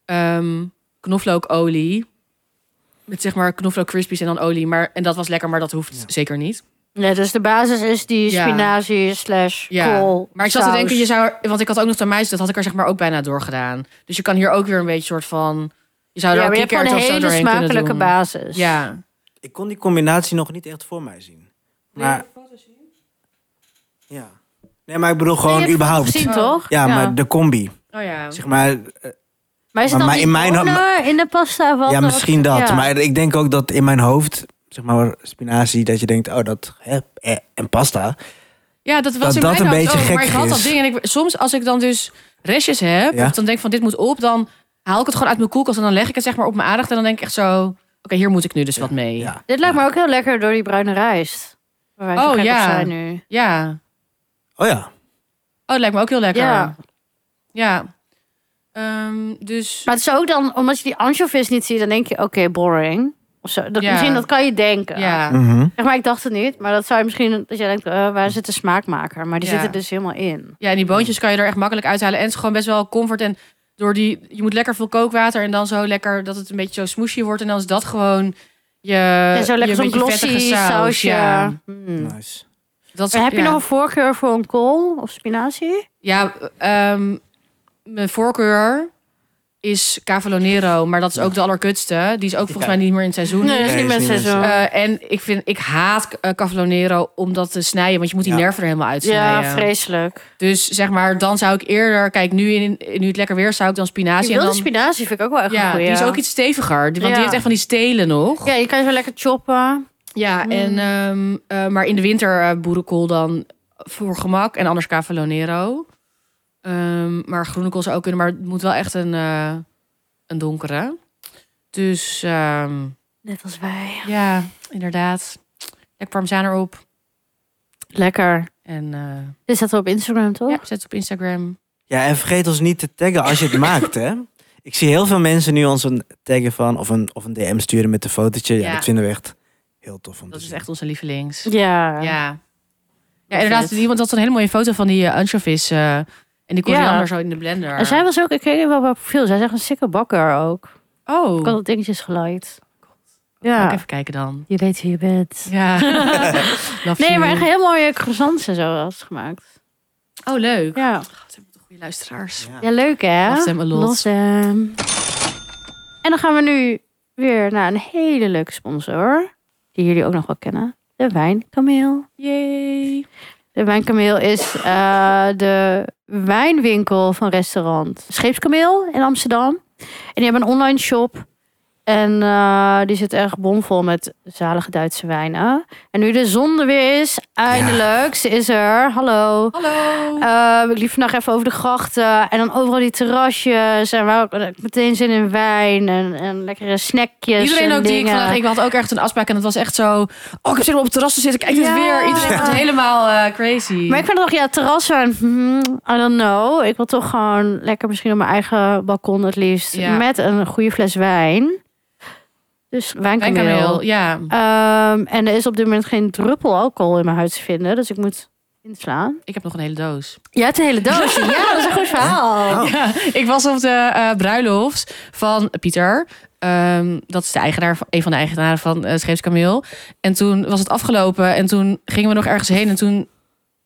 Speaker 2: ehm, knoflookolie. Met zeg maar knoflook crispies en dan olie. Maar, en dat was lekker, maar dat hoeft
Speaker 1: Ja.
Speaker 2: zeker niet.
Speaker 3: Nee, dus de basis is die
Speaker 2: Ja.
Speaker 3: spinazie slash
Speaker 2: Ja.
Speaker 3: kool.
Speaker 2: Maar ik zat te
Speaker 3: saus.
Speaker 2: denken, je zou... Want ik had ook nog muis, dat had ik er zeg maar ook bijna door gedaan. Dus je kan hier ook weer een beetje soort van... Je zou er
Speaker 3: Ja,
Speaker 2: ook
Speaker 3: maar je hebt
Speaker 2: kikkerd
Speaker 3: gewoon een
Speaker 2: of zo
Speaker 3: hele
Speaker 2: doorheen kunnen
Speaker 3: smakelijke
Speaker 2: doen.
Speaker 3: basis.
Speaker 2: Ja.
Speaker 1: Ik kon die combinatie nog niet echt voor mij zien. Maar ja. Nee, maar ik bedoel
Speaker 3: Nee, je
Speaker 1: gewoon
Speaker 3: hebt het
Speaker 1: überhaupt.
Speaker 3: gezien,
Speaker 2: Oh.
Speaker 3: toch?
Speaker 1: Ja, maar de combi.
Speaker 2: Oh ja.
Speaker 1: Zeg maar, eh,
Speaker 3: Maar is het
Speaker 1: Maar
Speaker 3: dan
Speaker 1: mij-
Speaker 3: in
Speaker 1: in mijn-
Speaker 3: in de pasta? Wat
Speaker 1: ja,
Speaker 3: wat-
Speaker 1: misschien dat.
Speaker 3: ja.
Speaker 1: Maar ik denk ook dat in mijn hoofd, zeg maar, spinazie, dat je denkt, oh, dat hè, eh, en pasta.
Speaker 2: Ja, dat was
Speaker 1: Dat
Speaker 2: in
Speaker 1: dat
Speaker 2: mijn
Speaker 1: een
Speaker 2: hoofd
Speaker 1: beetje
Speaker 2: ook,
Speaker 1: gek
Speaker 2: Maar ik had dat
Speaker 1: is.
Speaker 2: ding. En ik, soms als ik dan dus restjes heb,
Speaker 1: Ja.
Speaker 2: of dan denk ik van dit moet op, dan haal ik het gewoon uit mijn koelkast en dan leg ik het zeg maar op mijn aandacht en dan denk ik echt zo, oké, hier moet ik nu dus wat mee. Ja.
Speaker 1: Ja.
Speaker 3: Dit lijkt me ook heel lekker door die bruine rijst. Waar wij
Speaker 2: Oh,
Speaker 3: zo gek
Speaker 2: ja.
Speaker 3: op zijn nu.
Speaker 1: Oh ja.
Speaker 2: Oh, dat lijkt me ook heel lekker.
Speaker 3: Ja.
Speaker 2: Ja. Ja. Ehm, dus
Speaker 3: Maar het is ook dan, omdat je die anchovies niet ziet, dan denk je, oké, boring. Of zo. Dat,
Speaker 2: Ja.
Speaker 3: Misschien dat kan je denken.
Speaker 2: ja.
Speaker 1: Mhm.
Speaker 3: Zeg maar, ik dacht het niet. Maar dat zou je misschien, dat jij denkt, eh, waar zit de smaakmaker? Maar die
Speaker 2: Ja.
Speaker 3: zit er dus helemaal in.
Speaker 2: Ja, en die boontjes kan je er echt makkelijk uithalen. En het is gewoon best wel comfort. En door die, je moet lekker veel kookwater en dan zo lekker dat het een beetje zo smoesje wordt. En dan is dat gewoon je.
Speaker 3: en zo
Speaker 2: Eh, je
Speaker 3: lekker zo'n
Speaker 2: beetje
Speaker 3: glossy
Speaker 2: vettige saus,
Speaker 3: sausje.
Speaker 2: Ja.
Speaker 3: Mm.
Speaker 1: Nice.
Speaker 2: Dat is-
Speaker 3: Maar heb je
Speaker 2: ja.
Speaker 3: nog een voorkeur voor een kool of spinazie?
Speaker 2: Ja, ehm, mijn voorkeur is Cavalonero, maar dat is ook de allerkutste. Die is ook volgens
Speaker 1: Ja.
Speaker 2: mij niet meer in het seizoen.
Speaker 3: Nee, dat is
Speaker 1: Nee,
Speaker 3: niet
Speaker 1: dat
Speaker 3: met
Speaker 1: is niet
Speaker 3: seizoen.
Speaker 2: Eh, en ik vind, ik haat eh, Cavalonero om dat te snijden, want je moet die
Speaker 1: Ja.
Speaker 2: nerven er helemaal
Speaker 3: ja,
Speaker 2: uitsnijden.
Speaker 3: vreselijk.
Speaker 2: dus zeg maar, dan zou ik eerder, kijk, nu, in, nu het lekker weer is, zou ik dan spinazie.
Speaker 3: Die
Speaker 2: en
Speaker 3: wilde
Speaker 2: dan,
Speaker 3: spinazie vind ik ook wel echt
Speaker 2: ja,
Speaker 3: een goeie.
Speaker 2: die is ook iets steviger, die- want die
Speaker 3: Ja.
Speaker 2: heeft echt van die stelen nog.
Speaker 3: Ja, je kan zo lekker choppen.
Speaker 2: Ja,
Speaker 3: Mm.
Speaker 2: en, ehm, eh, maar in de winter eh, boerenkool dan voor gemak. En anders Cavalonero. Ehm, maar groene kool zou ook kunnen. Maar het moet wel echt een, eh, een donkere. Dus ehm,
Speaker 3: Net als wij.
Speaker 2: ja, inderdaad. Lekker parmezaan erop.
Speaker 3: Lekker.
Speaker 2: En eh,
Speaker 3: Dit zetten we op Instagram, toch?
Speaker 2: ja, zet het op Instagram.
Speaker 1: Ja, en vergeet ons niet te taggen als je het maakt, hè. Ik zie heel veel mensen nu ons een taggen van, of een, of een DM sturen met een fotootje. Ja,
Speaker 2: Ja.
Speaker 1: dat vinden we echt heel tof om
Speaker 2: Dat
Speaker 1: te
Speaker 2: is
Speaker 1: zien.
Speaker 2: echt onze lievelings.
Speaker 3: Ja.
Speaker 2: Ja. Ja, inderdaad. Iemand had een hele mooie foto van die eh, anchovies. eh, en die
Speaker 3: Ja.
Speaker 2: koriander zo in de blender.
Speaker 3: En zij was ook, ik keek wel op haar profiel, zij is echt een sikke bakker ook.
Speaker 2: Oh,
Speaker 3: Ik had dat dingetjes geluid.
Speaker 2: ga ik
Speaker 3: Ja,
Speaker 2: even kijken dan.
Speaker 3: je weet wie je bent.
Speaker 2: Ja. Love
Speaker 3: Nee,
Speaker 2: you.
Speaker 3: maar echt heel mooie croissants en zo had ze gemaakt.
Speaker 2: Oh, leuk.
Speaker 3: Ja,
Speaker 2: God, hebben we toch goede luisteraars.
Speaker 1: Ja.
Speaker 3: ja leuk hè?
Speaker 2: Love them a lot.
Speaker 3: Love them. En dan gaan we nu weer naar een hele leuke sponsor. Die jullie ook nog wel kennen. De Wijnkameel.
Speaker 2: Yay.
Speaker 3: De Wijnkameel is eh, de wijnwinkel van restaurant Scheepskameel in Amsterdam. En die hebben een online shop. En eh, die zit echt bomvol met zalige Duitse wijnen. En nu de zon er weer is, eindelijk, ze is er. Hallo.
Speaker 2: Hallo.
Speaker 3: Eh, ik liep vandaag even over de grachten en dan overal die terrasjes. En waar ook meteen zin in wijn en, en lekkere snackjes.
Speaker 2: Iedereen
Speaker 3: en
Speaker 2: ook die ik
Speaker 3: dingen.
Speaker 2: vandaag... Ik had ook echt een afspraak en het was echt zo... Oh, ik heb zin om op het terras te zitten. Kijk, dit
Speaker 3: Ja.
Speaker 2: weer. Iedereen wordt helemaal eh, crazy.
Speaker 3: Maar ik vind nog, ja, terrassen, hmm, I don't know. Ik wil toch gewoon lekker misschien op mijn eigen balkon het liefst.
Speaker 2: Ja.
Speaker 3: Met een goede fles wijn. Dus wijnkameel.
Speaker 2: Wijnkameel, ja.
Speaker 3: Ehm, en er is op dit moment geen druppel alcohol in mijn huid te vinden. Dus ik moet inslaan.
Speaker 2: Ik heb nog een hele doos.
Speaker 3: Jij hebt een hele doos. ja, dat is een goed verhaal.
Speaker 1: Oh.
Speaker 2: Ja, ik was op de eh, bruiloft van Pieter. Ehm, dat is de eigenaar, van- een van de eigenaren van eh Scheepskameel. En toen was het afgelopen en toen gingen we nog ergens heen. En toen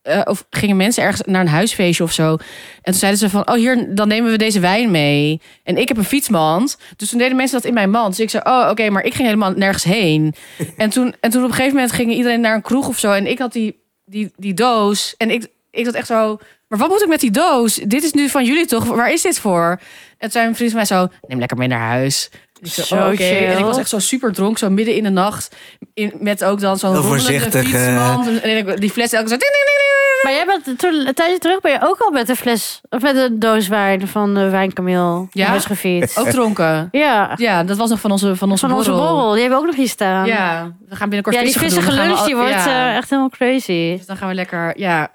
Speaker 2: eh, of gingen mensen ergens naar een huisfeestje of zo. En toen zeiden ze van, oh hier, dan nemen we deze wijn mee. En ik heb een fietsmand. Dus toen deden mensen dat in mijn mand. Dus ik zei, oh oké, maar ik ging helemaal nergens heen. en, toen, en toen op een gegeven moment ging iedereen naar een kroeg of zo. En ik had die, die, die doos. En ik, ik zat echt zo, maar wat moet ik met die doos? Dit is nu van jullie toch? Waar is dit voor? En toen zei mijn vriend van mij zo, neem lekker mee naar huis. Ik zo,
Speaker 3: Zo
Speaker 2: oh, oké.
Speaker 3: chill.
Speaker 2: En ik was echt zo super dronk, zo midden in de nacht. In, met ook dan zo'n
Speaker 1: Heel
Speaker 2: rommelende
Speaker 1: voorzichtig, eh.
Speaker 2: fietsmand. En ik- eh, die fles elke keer zo... "Ding, ding, ding, ding, ding."
Speaker 3: Maar jij bent toen- tijdens terug ben je ook al met een fles of met een doos wijn van de wijnkameel
Speaker 2: Ja?
Speaker 3: ja? huis gefietst.
Speaker 2: Ook dronken.
Speaker 3: Ja,
Speaker 2: Ja, dat was nog van onze, van onze,
Speaker 3: van onze borrel. Die hebben we ook nog hier staan.
Speaker 2: Ja, we gaan binnenkort
Speaker 3: Ja, die
Speaker 2: vissen
Speaker 3: vissige
Speaker 2: doen. Dan gaan we
Speaker 3: lunch
Speaker 2: al-
Speaker 3: die wordt
Speaker 2: ja.
Speaker 3: eh, echt helemaal crazy.
Speaker 2: Dus dan gaan we lekker... Ja,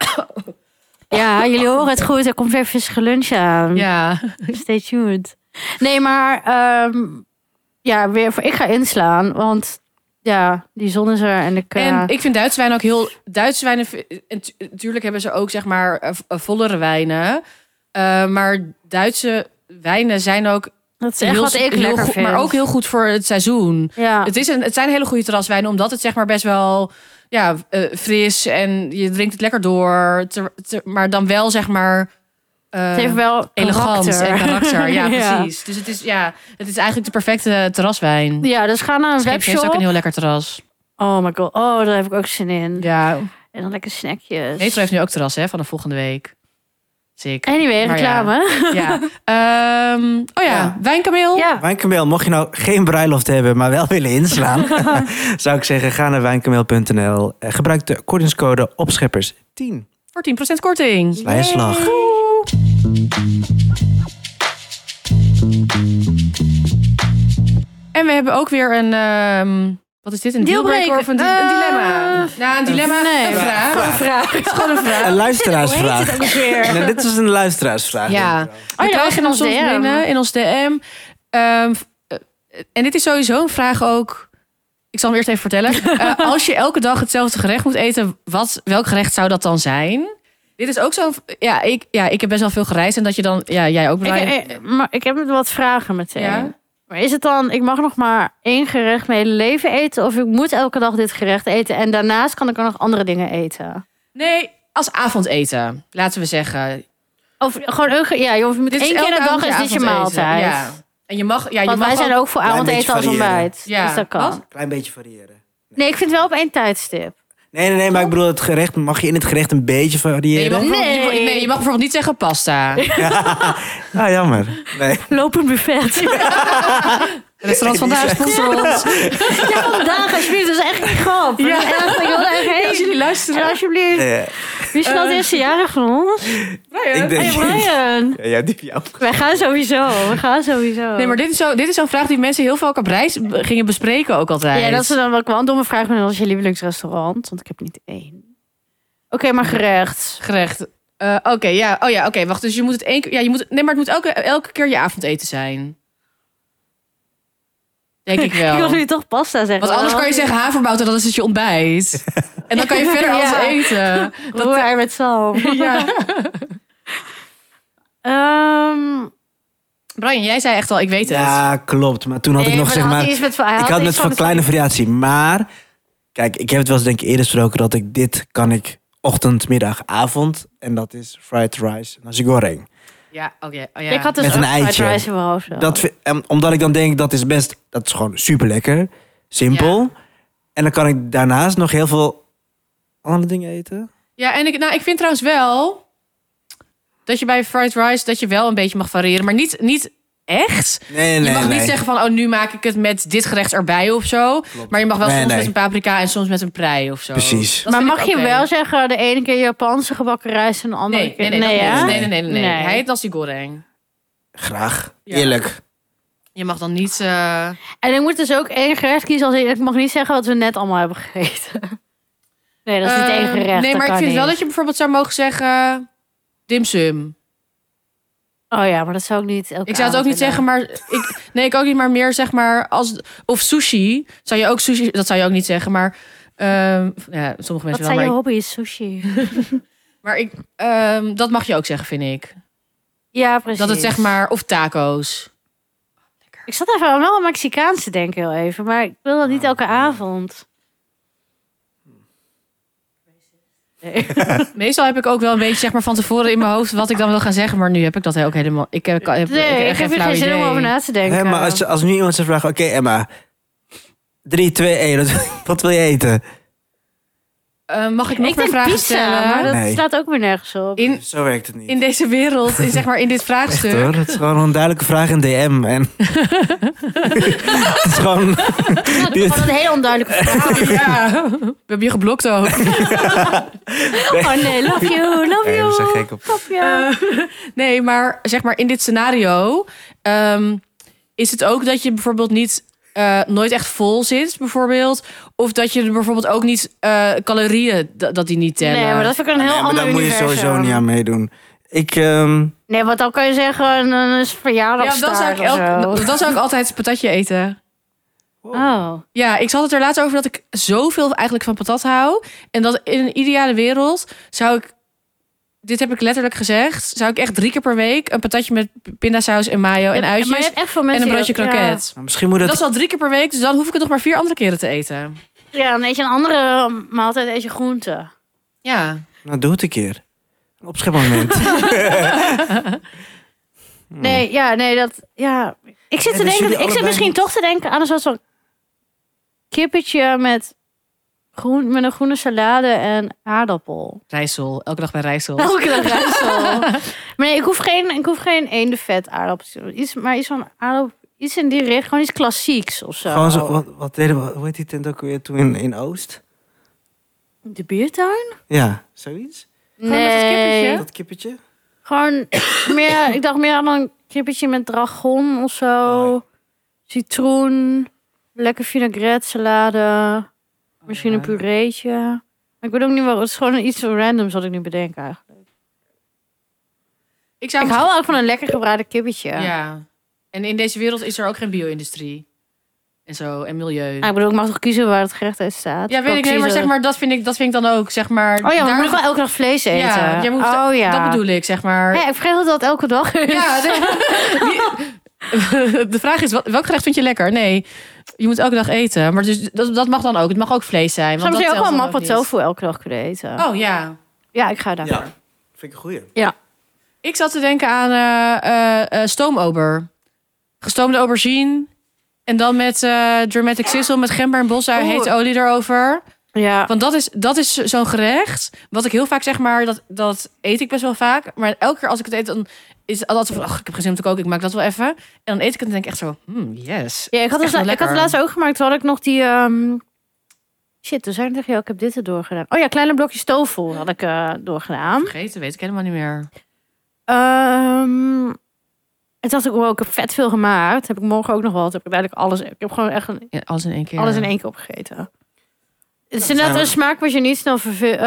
Speaker 3: Ja, jullie horen het goed. Er komt weer vissige lunch aan.
Speaker 2: ja.
Speaker 3: Stay tuned. Nee, maar ehm, ja, weer voor, ik ga inslaan, want ja, die zon is er en ik. eh,
Speaker 2: En ik vind Duitse wijn ook heel... Duitse wijnen... en tu- Natuurlijk hebben ze ook, zeg maar, eh, v- eh, vollere wijnen. Eh, maar Duitse wijnen zijn ook...
Speaker 3: dat is echt
Speaker 2: heel,
Speaker 3: wat ik
Speaker 2: heel
Speaker 3: lekker
Speaker 2: goed,
Speaker 3: vind.
Speaker 2: Maar ook heel goed voor het seizoen.
Speaker 3: Ja.
Speaker 2: Het, is een, het zijn hele goede terraswijnen, omdat het zeg maar best wel ja, eh, fris en je drinkt het lekker door. Ter- ter- maar dan wel zeg maar eh,
Speaker 3: Het heeft wel
Speaker 2: elegant
Speaker 3: karakter.
Speaker 2: en karakter. Ja, precies. Dus het is, ja, het is eigenlijk de perfecte terraswijn.
Speaker 3: Ja, dus ga naar een
Speaker 2: Scheep heeft ook een
Speaker 3: webshop.
Speaker 2: heel lekker terras.
Speaker 3: Oh my god, oh, daar heb ik ook zin in.
Speaker 2: Ja.
Speaker 3: En dan lekker snackjes.
Speaker 2: Metro heeft nu ook terras hè, van de volgende week. Zeker.
Speaker 3: Anyway,
Speaker 2: Maar
Speaker 3: reclame.
Speaker 2: Ja. Ehm, oh ja,
Speaker 1: Ja.
Speaker 2: wijnkameel.
Speaker 3: Ja.
Speaker 1: Wijnkameel, mocht je nou geen bruiloft hebben, maar wel willen inslaan, zou ik zeggen: ga naar wijnkameel.nl. Eh, Gebruik de kortingscode opscheppers 10.
Speaker 2: Voor 10% korting.
Speaker 1: Lijnslag.
Speaker 2: En we hebben ook weer een. ehm, wat is dit? Een
Speaker 3: Dealbreaker.
Speaker 2: dealbreaker of een, di- een
Speaker 3: Eh,
Speaker 2: dilemma? Nou, een dilemma.
Speaker 3: nee.
Speaker 2: Een vraag.
Speaker 1: Een
Speaker 2: vraag. Het is gewoon een vraag.
Speaker 1: Een
Speaker 3: Hoe heet
Speaker 1: luisteraarsvraag.
Speaker 3: het ook weer?
Speaker 1: Nou, dit was een luisteraarsvraag.
Speaker 2: Ja.
Speaker 1: denk ik wel.
Speaker 2: We
Speaker 3: Oh, ja,
Speaker 2: krijgen
Speaker 3: in
Speaker 2: dan
Speaker 3: ons
Speaker 2: soms
Speaker 3: DM.
Speaker 2: binnen in ons DM. Ehm, f- eh, en dit is sowieso een vraag ook. Ik zal hem eerst even vertellen. Eh, als je elke dag hetzelfde gerecht moet eten, wat, welk gerecht zou dat dan zijn? Dit is ook zo'n. v- Ja ik, ja, ik heb best wel veel gereisd. En dat je dan. Ja, jij ook. Brian.
Speaker 3: Ik, eh, maar ik heb wat vragen meteen.
Speaker 2: Ja.
Speaker 3: Maar is het dan, ik mag nog maar één gerecht mijn hele leven eten? Of ik moet elke dag dit gerecht eten en daarnaast kan ik ook nog andere dingen eten?
Speaker 2: Nee, als avondeten, laten we zeggen.
Speaker 3: Of gewoon, een ge- ja joh, je moet
Speaker 2: Dit is
Speaker 3: één keer
Speaker 2: elke
Speaker 3: in de dag
Speaker 2: avond
Speaker 3: is dit je
Speaker 2: avondeten,
Speaker 3: maaltijd.
Speaker 2: Ja. En je mag, ja, je
Speaker 3: Want
Speaker 2: mag
Speaker 3: wij zijn ook voor
Speaker 1: Klein
Speaker 3: avondeten als
Speaker 1: beetje variëren.
Speaker 3: ontbijt.
Speaker 2: Ja.
Speaker 3: Dus dat kan.
Speaker 2: Wat?
Speaker 1: Klein beetje variëren.
Speaker 3: Nee, ik vind wel op één tijdstip.
Speaker 1: Nee, nee, nee, maar ik bedoel, het gerecht, mag je in het gerecht een beetje
Speaker 2: Nee, je mag,
Speaker 1: variëren?
Speaker 2: bijvoorbeeld- je-
Speaker 3: Nee.
Speaker 2: nee, je mag bijvoorbeeld niet zeggen pasta.
Speaker 1: Ah, jammer. Nee.
Speaker 3: Lopend buffet.
Speaker 2: Restaurant vandaag sponsor ons.
Speaker 3: ja, vandaag alsjeblieft. Dat is echt een grap.
Speaker 2: Ja.
Speaker 3: Ja. Echt, ik wil er echt heen.
Speaker 2: Als jullie luisteren.
Speaker 3: Ja, alsjeblieft.
Speaker 1: Nee,
Speaker 3: Wie is
Speaker 2: Eh,
Speaker 3: nou de eerste jarig van ons?
Speaker 1: ik
Speaker 3: Hey
Speaker 1: denk...
Speaker 3: Brian.
Speaker 1: Ja, ja, die jou.
Speaker 3: Wij gaan sowieso. We gaan sowieso.
Speaker 2: Nee, maar dit is zo- dit is zo'n vraag die mensen heel vaak op reis b- gingen bespreken ook altijd.
Speaker 3: Ja, dat is dan wel wel een domme vraag. Maar wat is je lievelingsrestaurant? Want ik heb niet één. Oké, maar gerecht.
Speaker 2: gerecht. Eh, oké, ja. Oh ja, oké. wacht, dus je moet het één keer... Ja, je moet, nee, maar het moet elke, elke keer je avondeten zijn. Denk ik wel.
Speaker 3: Ik wil Oh. nu toch pasta zeggen.
Speaker 2: Want anders kan je zeggen haverbouten, dat is het je ontbijt. En dan kan je verder
Speaker 3: Ja.
Speaker 2: alles eten.
Speaker 3: Roer ei met zalm.
Speaker 2: Ja.
Speaker 3: Ehm,
Speaker 2: Brian, jij zei echt al, ik weet het.
Speaker 1: Ja, klopt. Maar toen had
Speaker 3: nee,
Speaker 1: ik nog,
Speaker 3: maar
Speaker 1: zeg
Speaker 3: dan had
Speaker 1: maar...
Speaker 3: hij iets met, hij
Speaker 1: ik had
Speaker 3: iets
Speaker 1: net
Speaker 3: van
Speaker 1: zo'n kleine variatie. Maar, kijk, ik heb het wel eens denk ik eerder gesproken dat ik dit kan ik ochtend, middag, avond. En dat is fried rice nasi goreng.
Speaker 2: Ja, oké. oh ja.
Speaker 3: Ik had dus
Speaker 1: Met
Speaker 3: ook
Speaker 1: een
Speaker 3: fried
Speaker 1: eitje.
Speaker 3: rice in mijn hoofd. wel.
Speaker 1: Dat, vi- en omdat ik dan denk, dat is best, dat is gewoon super lekker. Simpel. En dan kan ik daarnaast nog heel veel andere dingen eten.
Speaker 2: Ja, en ik, nou, ik vind trouwens wel dat je bij fried rice dat je wel een beetje mag variëren, maar niet, niet echt.
Speaker 1: Nee, nee,
Speaker 2: je mag
Speaker 1: nee.
Speaker 2: niet zeggen van, oh, nu maak ik het met dit gerecht erbij of zo.
Speaker 1: Klopt.
Speaker 2: Maar je mag wel
Speaker 1: Nee,
Speaker 2: soms
Speaker 1: nee.
Speaker 2: met een paprika en soms met een prei of zo.
Speaker 1: Precies.
Speaker 2: Dat
Speaker 3: maar
Speaker 2: vind
Speaker 3: mag
Speaker 2: ik
Speaker 3: je
Speaker 2: oké.
Speaker 3: wel zeggen de ene keer Japanse gebakken rijst en de andere
Speaker 2: Nee, nee,
Speaker 3: keer...
Speaker 2: nee, nee,
Speaker 3: hè?
Speaker 2: nee, nee, nee, nee, nee.
Speaker 3: Nee.
Speaker 2: Hij heet nasi goreng.
Speaker 1: Graag.
Speaker 2: Ja.
Speaker 1: Eerlijk.
Speaker 2: Je mag dan niet... eh,
Speaker 3: En ik moet dus ook één gerecht kiezen. Als in, ik mag niet zeggen wat we net allemaal hebben gegeten. Nee, dat is niet
Speaker 2: eh,
Speaker 3: één
Speaker 2: Nee,
Speaker 3: gerecht. dat
Speaker 2: maar ik
Speaker 3: kan
Speaker 2: vind wel
Speaker 3: niet.
Speaker 2: dat je bijvoorbeeld zou mogen zeggen... Dimsum.
Speaker 3: Oh ja, maar dat zou ik niet elke
Speaker 2: Ik zou het ook
Speaker 3: avond
Speaker 2: niet zeggen,
Speaker 3: willen.
Speaker 2: maar ik, nee, ik ook niet, maar meer zeg maar als of sushi zou je ook sushi, dat zou je ook niet zeggen, maar ehm, ja, sommige mensen
Speaker 3: Wat
Speaker 2: wel,
Speaker 3: zijn
Speaker 2: maar,
Speaker 3: je
Speaker 2: ik,
Speaker 3: hobby's? Sushi.
Speaker 2: maar ik, ehm, dat mag je ook zeggen, vind ik.
Speaker 3: Ja, precies.
Speaker 2: Dat het zeg maar of taco's.
Speaker 3: Ik zat even aan wel een Mexicaanse denken heel even. Maar ik wil dat niet elke avond. Nee.
Speaker 2: Meestal heb ik ook wel een beetje zeg maar van tevoren in mijn hoofd wat ik dan wil gaan zeggen, maar nu heb ik dat ook helemaal. Ik heb, ik heb,
Speaker 3: Nee,
Speaker 2: ik heb
Speaker 3: ik heb er
Speaker 2: flauw
Speaker 3: geen zin om
Speaker 2: idee.
Speaker 3: over na te denken.
Speaker 1: Hè, maar als, je- als nu iemand zou vragen, oké Emma, 3, 2, 1, wat, wat wil je eten?
Speaker 2: Eh, mag ik nog meer
Speaker 3: ik denk
Speaker 2: vragen
Speaker 3: pizza,
Speaker 2: stellen?
Speaker 3: maar dat
Speaker 1: Nee.
Speaker 3: slaat ook weer nergens op.
Speaker 2: In,
Speaker 1: Zo werkt het niet.
Speaker 2: in deze wereld, in, zeg maar in dit
Speaker 1: Echt
Speaker 2: vraagstuk.
Speaker 1: hoor, het is gewoon een duidelijke vraag in DM. En het is gewoon...
Speaker 3: Dat is gewoon een heel onduidelijke vraag.
Speaker 2: Ja, we hebben je geblokt ook.
Speaker 3: Oh nee, love you, love
Speaker 1: Nee,
Speaker 3: you.
Speaker 1: we zijn gek op-
Speaker 3: Love you.
Speaker 2: Eh, nee, maar zeg maar in dit scenario ehm, is het ook dat je bijvoorbeeld niet eh, nooit echt vol zit, bijvoorbeeld, of dat je er bijvoorbeeld ook niet eh, calorieën d- dat die niet tellen.
Speaker 3: Nee, maar dat vind ik een heel
Speaker 1: Nee, maar
Speaker 3: ander
Speaker 1: daar moet je
Speaker 3: universum.
Speaker 1: sowieso niet aan meedoen. Ik, ehm,
Speaker 3: Nee, want dan kan je zeggen een, een
Speaker 2: ja, dan zou,
Speaker 3: verjaardagstaart
Speaker 2: ik
Speaker 3: ja,
Speaker 2: elk,
Speaker 3: of zo.
Speaker 2: dan zou ik altijd patatje eten.
Speaker 3: Oh.
Speaker 2: Ja, ik had het er laatst over dat ik zoveel eigenlijk van patat hou. En dat in een ideale wereld zou ik, dit heb ik letterlijk gezegd, zou ik echt drie keer per week een patatje met pindasaus en mayo en uitjes
Speaker 3: Maar je hebt echt veel
Speaker 2: en
Speaker 3: mensen
Speaker 2: een broodje
Speaker 3: die dat-
Speaker 2: kroket.
Speaker 1: nou, misschien moet het...
Speaker 2: Dat is al drie keer per week, dus dan hoef ik het nog maar vier andere keren te eten.
Speaker 3: Ja. ja, dan eet je een andere maaltijd, eet je groente.
Speaker 2: Ja.
Speaker 1: Nou, doe het een keer. Een opschepmoment.
Speaker 3: Nee, ja, nee, dat... Ja. Ik zit,
Speaker 1: Hmm. Ja, dus
Speaker 3: te denken,
Speaker 1: jullie
Speaker 3: ik zit
Speaker 1: allebei
Speaker 3: misschien
Speaker 1: niet-
Speaker 3: toch te denken aan een soort van kippetje met, groen, met een groene salade en aardappel.
Speaker 2: Rijssel, elke dag bij Rijssel.
Speaker 3: Elke dag rijstel. maar nee, ik hoef geen, ik hoef geen eendevet aardappel. te doen. Iets, maar iets van aardappel... Iets in die richting, gewoon iets klassieks of zo.
Speaker 1: Gewoon zo, wat, wat deden we, hoe heet die tent ook weer toen in, in Oost?
Speaker 3: De biertuin?
Speaker 1: Ja, zoiets?
Speaker 2: Gewoon met het kippetje?
Speaker 1: Dat kippetje?
Speaker 3: Gewoon meer, ik dacht meer aan een kippetje met dragon of zo.
Speaker 1: Oh,
Speaker 3: Citroen, lekker vinaigrette salade,
Speaker 2: Oh,
Speaker 3: misschien een pureetje. Maar ik weet ook niet waarom, het is gewoon iets randoms wat ik nu bedenk eigenlijk.
Speaker 2: Ik zou
Speaker 3: Ik hou eigenlijk van een lekker gebraden kippetje.
Speaker 2: Ja. En in deze wereld is er ook geen bio-industrie. En zo, en milieu.
Speaker 3: Ah, ik bedoel, ik mag toch kiezen waar het gerecht uit staat?
Speaker 2: ja,
Speaker 3: kan
Speaker 2: weet ik niet, maar
Speaker 3: precies
Speaker 2: zeg maar, dat vind ik, dat vind ik dan ook, zeg maar.
Speaker 3: Oh ja, we
Speaker 2: daar-
Speaker 3: moeten wel elke dag vlees eten.
Speaker 2: Ja, jij moet-
Speaker 3: oh ja.
Speaker 2: dat bedoel ik, zeg maar.
Speaker 3: Ja, ik vergeet dat dat elke dag is.
Speaker 2: Ja, de, die- de vraag is, wat- welk gerecht vind je lekker? Nee, je moet elke dag eten. Maar dus, dat, dat mag dan ook. Het mag ook vlees zijn.
Speaker 3: Soms
Speaker 2: Want
Speaker 3: zou je
Speaker 2: dat
Speaker 3: ook wel
Speaker 2: telt dan
Speaker 3: mappen
Speaker 2: niet.
Speaker 3: tofu elke dag kunnen eten.
Speaker 2: Oh ja.
Speaker 3: Ja, ik ga daar.
Speaker 1: Ja, vind ik een goeie.
Speaker 2: Ik zat te denken aan eh, eh, eh, stoomober. Gestoomde aubergine. En dan met eh, dramatic sizzle, met gember en bosui,
Speaker 3: Oeh.
Speaker 2: heet olie erover.
Speaker 3: Ja.
Speaker 2: Want dat is, dat is zo'n gerecht. Wat ik heel vaak zeg maar, dat, dat eet ik best wel vaak. Maar elke keer als ik het eet, dan is het altijd van... Ach, ik heb geen zin om te koken, ik maak dat wel even. En dan eet ik het en denk ik echt zo, hmm, yes.
Speaker 3: Ja, ik
Speaker 2: Echt wel
Speaker 3: had, het, la- ik had het
Speaker 2: lekker.
Speaker 3: laatst ook gemaakt. Toen had ik nog die... ehm, Shit, toen zei ik tegen jou, ik heb dit erdoor gedaan. Oh ja, kleine blokjes tofu had ik eh doorgedaan.
Speaker 2: Vergeten, weet ik helemaal niet meer.
Speaker 3: Ehm en toen dacht ik, wow, ik heb vet veel gemaakt. Heb ik morgen ook nog wat. Heb ik eigenlijk alles... Ik heb gewoon echt een-
Speaker 2: Ja, alles in één keer.
Speaker 3: alles in één keer opgegeten. Het is
Speaker 1: Ja,
Speaker 3: inderdaad
Speaker 1: maar-
Speaker 3: een smaak wat je niet snel verveelt.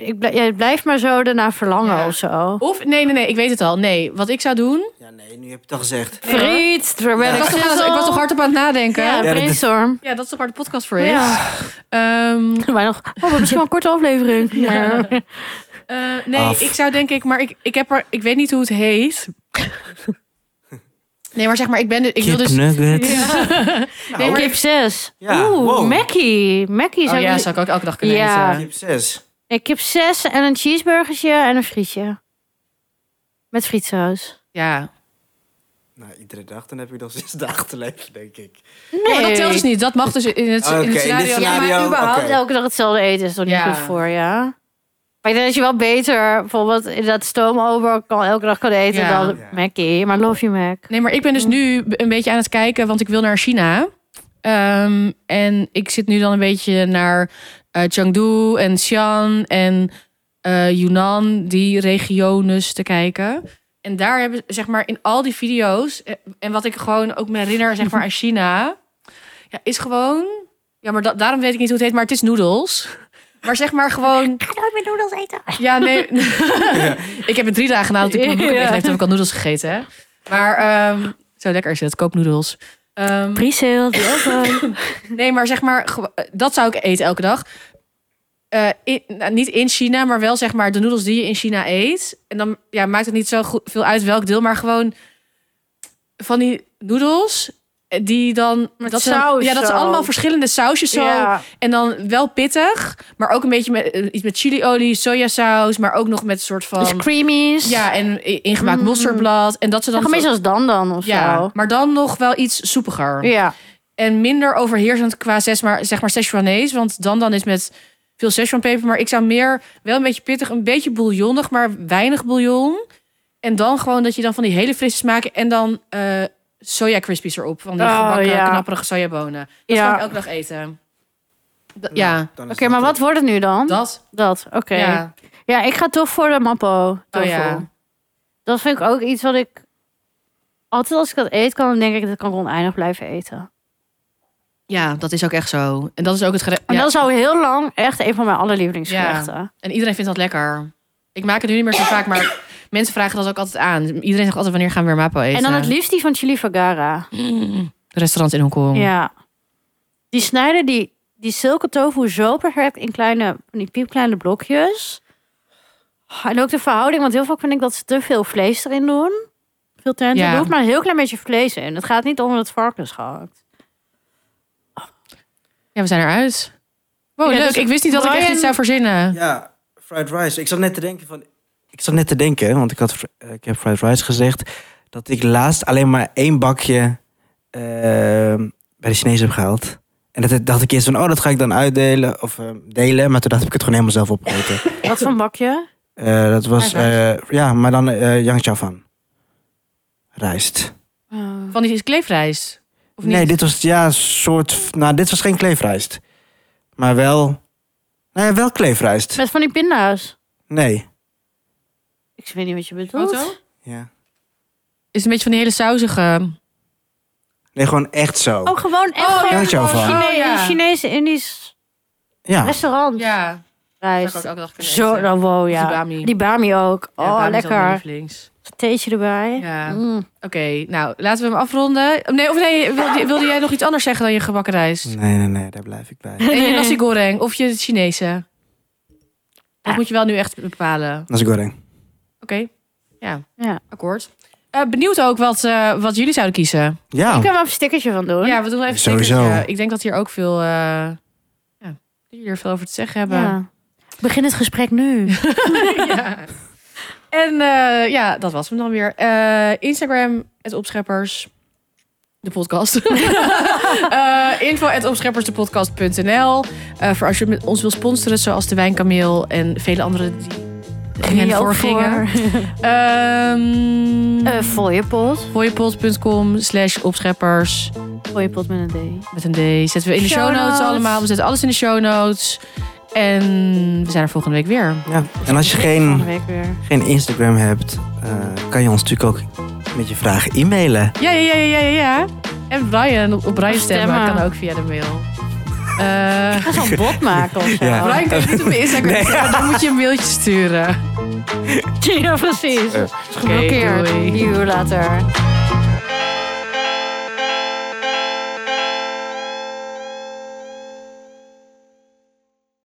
Speaker 3: ik blij- ja, het blijft maar zo daarna verlangen
Speaker 2: Ja.
Speaker 3: of zo.
Speaker 2: Of, nee, nee, nee, ik weet het al. Nee, wat ik zou doen...
Speaker 1: Ja, nee, nu heb je het al gezegd.
Speaker 2: Nee, hoor.
Speaker 3: Friet,
Speaker 1: Ja,
Speaker 3: dramatic
Speaker 2: ik, was toch, aan het-
Speaker 3: sizzle.
Speaker 2: ik was toch hardop aan het nadenken.
Speaker 3: Ja,
Speaker 2: Ja,
Speaker 1: dat is-
Speaker 3: brainstorm.
Speaker 2: dat is toch waar de podcast voor
Speaker 3: Ja.
Speaker 2: is. Ehm,
Speaker 3: Maar nog, oh, we hebben misschien wel een korte aflevering.
Speaker 2: Ja. eh, nee,
Speaker 1: Af.
Speaker 2: ik zou denk ik, maar ik, ik heb er, ik weet niet hoe het heet. Nee, maar zeg maar, ik ben, ik wil dus.
Speaker 1: Kipnuggets.
Speaker 2: Nee, maar
Speaker 3: Kip 6.
Speaker 1: Nou, Ja,
Speaker 3: Oeh,
Speaker 1: wow.
Speaker 3: Mackie. Mackie
Speaker 2: oh
Speaker 3: zou
Speaker 2: ja,
Speaker 3: ik-
Speaker 2: zou ik ook elke dag kunnen
Speaker 3: Ja.
Speaker 2: eten.
Speaker 1: Kip 6.
Speaker 3: Nee, kip 6 en een cheeseburgertje en een frietje. Met frietsaus.
Speaker 2: Ja.
Speaker 1: Nou, iedere dag, dan heb je nog zes dagen te leven, denk ik.
Speaker 3: Nee,
Speaker 2: Nee, dat telt dus niet. Dat mag dus in het,
Speaker 1: Oké,
Speaker 2: in
Speaker 1: in
Speaker 2: het
Speaker 1: dit
Speaker 2: scenario.
Speaker 1: scenario-
Speaker 3: Ja, maar überhaupt
Speaker 1: Oké.
Speaker 3: elke dag hetzelfde eten is toch niet
Speaker 2: Ja.
Speaker 3: goed voor, ja? Maar Maar ik denk dat je wel beter bijvoorbeeld in dat stoomover kan, elke dag kan eten
Speaker 2: Ja.
Speaker 3: dan
Speaker 1: Ja.
Speaker 3: Mackie. Maar love you, Mac.
Speaker 2: Nee, maar ik ben dus nu een beetje aan het kijken, want ik wil naar China. Ehm, en ik zit nu dan een beetje naar eh, Chengdu en Xi'an en eh, Yunnan, die regiones te kijken. En daar hebben ze, zeg maar, in al die video's, eh, en wat ik gewoon ook me herinner, zeg maar, aan China, ja, is gewoon, ja, maar da- daarom weet ik niet hoe het heet, maar het is noedels. Maar zeg maar gewoon,
Speaker 3: Ik ga nooit meer noedels eten.
Speaker 2: ja, nee. ik heb in drie dagen nadat ik mijn boek heb
Speaker 3: Ja.
Speaker 2: gelezen, heb ik al noedels gegeten. Hè? Maar ehm, zo lekker is het, koopnoedels. Ehm,
Speaker 3: Pre-sale, die open.
Speaker 2: nee, maar zeg maar, gew- dat zou ik eten elke dag. Eh, in- nou, niet in China, maar wel zeg maar de noedels die je in China eet. En dan ja, maakt het niet zo goed, veel uit welk deel, maar gewoon van die noedels eh, die dan
Speaker 3: Met
Speaker 2: dat ze dan-
Speaker 3: saus
Speaker 2: ja, dat ze
Speaker 3: zo.
Speaker 2: allemaal verschillende sausjes zo
Speaker 3: Ja.
Speaker 2: en dan wel pittig, maar ook een beetje met eh, iets met chiliolie, sojasaus, maar ook nog met een soort
Speaker 3: Dus
Speaker 2: van
Speaker 3: creamies.
Speaker 2: ja, en i- ingemaakt
Speaker 3: Mm.
Speaker 2: mosterdblad. En dat ze dan.
Speaker 3: Dan
Speaker 2: zo-
Speaker 3: meestal als dan dan of
Speaker 2: ja,
Speaker 3: zo.
Speaker 2: maar dan nog wel iets soepiger.
Speaker 3: Ja.
Speaker 2: En minder overheersend qua zes, maar, zeg maar Szechuanees. Want dan dan is met veel Szechuanpeper. Maar ik zou meer wel een beetje pittig, een beetje bouillonnig, maar weinig bouillon. En dan gewoon dat je dan van die hele frisse smaken en dan eh soja crispies erop. Van die
Speaker 3: Oh,
Speaker 2: gebakken,
Speaker 3: ja.
Speaker 2: knapperige sojabonen. Dat
Speaker 3: Ja.
Speaker 2: kan ik elke dag eten. Dat- ja,
Speaker 1: Dan
Speaker 3: Oké,
Speaker 1: is
Speaker 3: maar
Speaker 1: dat
Speaker 3: wat wordt het nu dan? Dat.
Speaker 2: dat.
Speaker 3: Oké. Ja.
Speaker 2: Ja.
Speaker 3: ik ga toch voor de mappo.
Speaker 2: Oh,
Speaker 3: tofu.
Speaker 2: ja.
Speaker 3: Dat vind ik ook iets wat ik... Altijd als ik dat eet, kan, dan denk ik dat ik kan oneindig blijven eten.
Speaker 2: ja, dat is ook echt zo. En dat is ook het gerecht.
Speaker 3: En
Speaker 2: ja.
Speaker 3: dat is al heel lang echt een van mijn allerlievelingsgerechten.
Speaker 2: En iedereen vindt dat lekker. Ik maak het nu niet meer zo vaak, maar mensen vragen dat ook altijd aan. Iedereen zegt altijd wanneer gaan we weer mapo eten.
Speaker 3: En dan het liefst die van Chili Vagara.
Speaker 2: Mm. Restaurant in Hongkong.
Speaker 3: Ja. Die snijden die, die zulke tofu zo perfect in kleine, van die piepkleine blokjes. En ook de verhouding, want heel vaak vind ik dat ze te veel vlees erin doen. Veel tenten.
Speaker 2: Ja.
Speaker 3: Er hoeft maar een heel klein beetje vlees in. Het gaat niet om het varkens gehakt.
Speaker 2: Ja, we zijn eruit. Wow,
Speaker 3: Ja,
Speaker 2: leuk.
Speaker 3: dus
Speaker 2: ik wist niet dat ik echt
Speaker 3: Brian-
Speaker 2: iets zou verzinnen.
Speaker 1: Ja, fried rice. Ik zat net te denken van... Ik zat net te denken, want ik, had, fr- eh, ik heb fried rice gezegd... dat ik laatst alleen maar één bakje eh, bij de Chinees heb gehaald. En dat dacht ik eerst van, oh, dat ga ik dan uitdelen of eh, delen. Maar toen dacht ik het gewoon helemaal zelf opgegeten.
Speaker 3: Wat voor een bakje?
Speaker 1: Eh, dat was,
Speaker 2: Fried
Speaker 1: eh, ja, maar dan eh Yang Chavan. Rijst.
Speaker 2: Van die kleefrijs. Of niet?
Speaker 1: Nee, dit was, ja, soort... Nou, dit was geen kleefrijst. Maar wel... Nou ja, wel kleefrijst.
Speaker 3: Met van die pinda's.
Speaker 1: Nee.
Speaker 3: Ik weet niet wat je bedoelt.
Speaker 2: Foto?
Speaker 1: Ja.
Speaker 2: Is een beetje van die hele sausige.
Speaker 1: Nee, gewoon echt zo.
Speaker 3: Oh, gewoon echt
Speaker 2: Oh,
Speaker 3: gewoon
Speaker 1: ja, Chow Fan.
Speaker 3: Chine-
Speaker 2: Oh, ja. Ah.
Speaker 3: een Chinese Indisch
Speaker 1: ja.
Speaker 3: restaurant.
Speaker 2: Ja.
Speaker 3: Rijst.
Speaker 2: Zou ik ook elke dag kunnen
Speaker 3: Zo,
Speaker 2: eten.
Speaker 3: dan wow,
Speaker 2: Of
Speaker 3: ja.
Speaker 2: Die bami.
Speaker 3: Die bami ook.
Speaker 2: Ja,
Speaker 3: oh,
Speaker 2: bami is altijd mijn
Speaker 3: lekker.
Speaker 2: lievelings.
Speaker 3: Theetje erbij.
Speaker 2: Ja.
Speaker 3: Mm.
Speaker 2: Oké, nou, laten we hem afronden. Nee, of nee, wilde, wilde jij nog iets anders zeggen dan je gebakken rijst?
Speaker 1: Nee, nee, nee, daar blijf ik bij.
Speaker 2: En je nasi goreng of je Chinese?
Speaker 3: Ah.
Speaker 2: Dat moet je wel nu echt bepalen.
Speaker 1: Nasi goreng.
Speaker 2: Oké, ja,
Speaker 3: Ja.
Speaker 2: akkoord. Eh, benieuwd ook wat, eh, wat jullie zouden kiezen.
Speaker 1: Ja.
Speaker 3: Ik kan er wel een stickertje van doen.
Speaker 2: Oh. Ja, we doen wel even
Speaker 1: Sowieso.
Speaker 2: stickertje. Ik denk dat hier ook veel, eh, ja, dat jullie er veel over te zeggen hebben.
Speaker 3: Ja. Begin het gesprek nu.
Speaker 2: Ja. En eh, ja, dat was hem dan weer. Eh, Instagram, het opscheppers. De podcast. Eh info at opscheppersdepodcast.nl Eh, Voor als je met ons wil sponsoren, zoals de Wijnkameel en vele andere die
Speaker 3: Hier
Speaker 2: gingen
Speaker 3: ook
Speaker 2: voorgingen.
Speaker 3: voor.
Speaker 2: Ehm
Speaker 3: Eh, Fooiepot.
Speaker 2: Hooiepot.com slash opscheppers
Speaker 3: Fooiepot met een D.
Speaker 2: met een D. Zetten we in de
Speaker 3: Show
Speaker 2: show notes
Speaker 3: notes.
Speaker 2: allemaal. We zetten alles in de show notes. En we zijn er volgende week weer.
Speaker 1: ja. En als je geen,
Speaker 3: Volgende week weer.
Speaker 1: geen Instagram hebt, eh, kan je ons natuurlijk ook met je vragen e-mailen.
Speaker 2: Ja, ja, ja, ja, ja, ja. En Brian, op Brian stemmen,
Speaker 3: Stemmen.
Speaker 2: kan ook via de mail. Eh
Speaker 3: Ik ga zo'n bot maken of zo.
Speaker 1: Ja.
Speaker 2: Brian kan je niet op de Instagram stemmen, dan moet je een mailtje sturen.
Speaker 3: Ja, precies.
Speaker 1: Eh.
Speaker 3: Het is geblokkeerd.
Speaker 2: Oké, doei.
Speaker 3: Die uur later.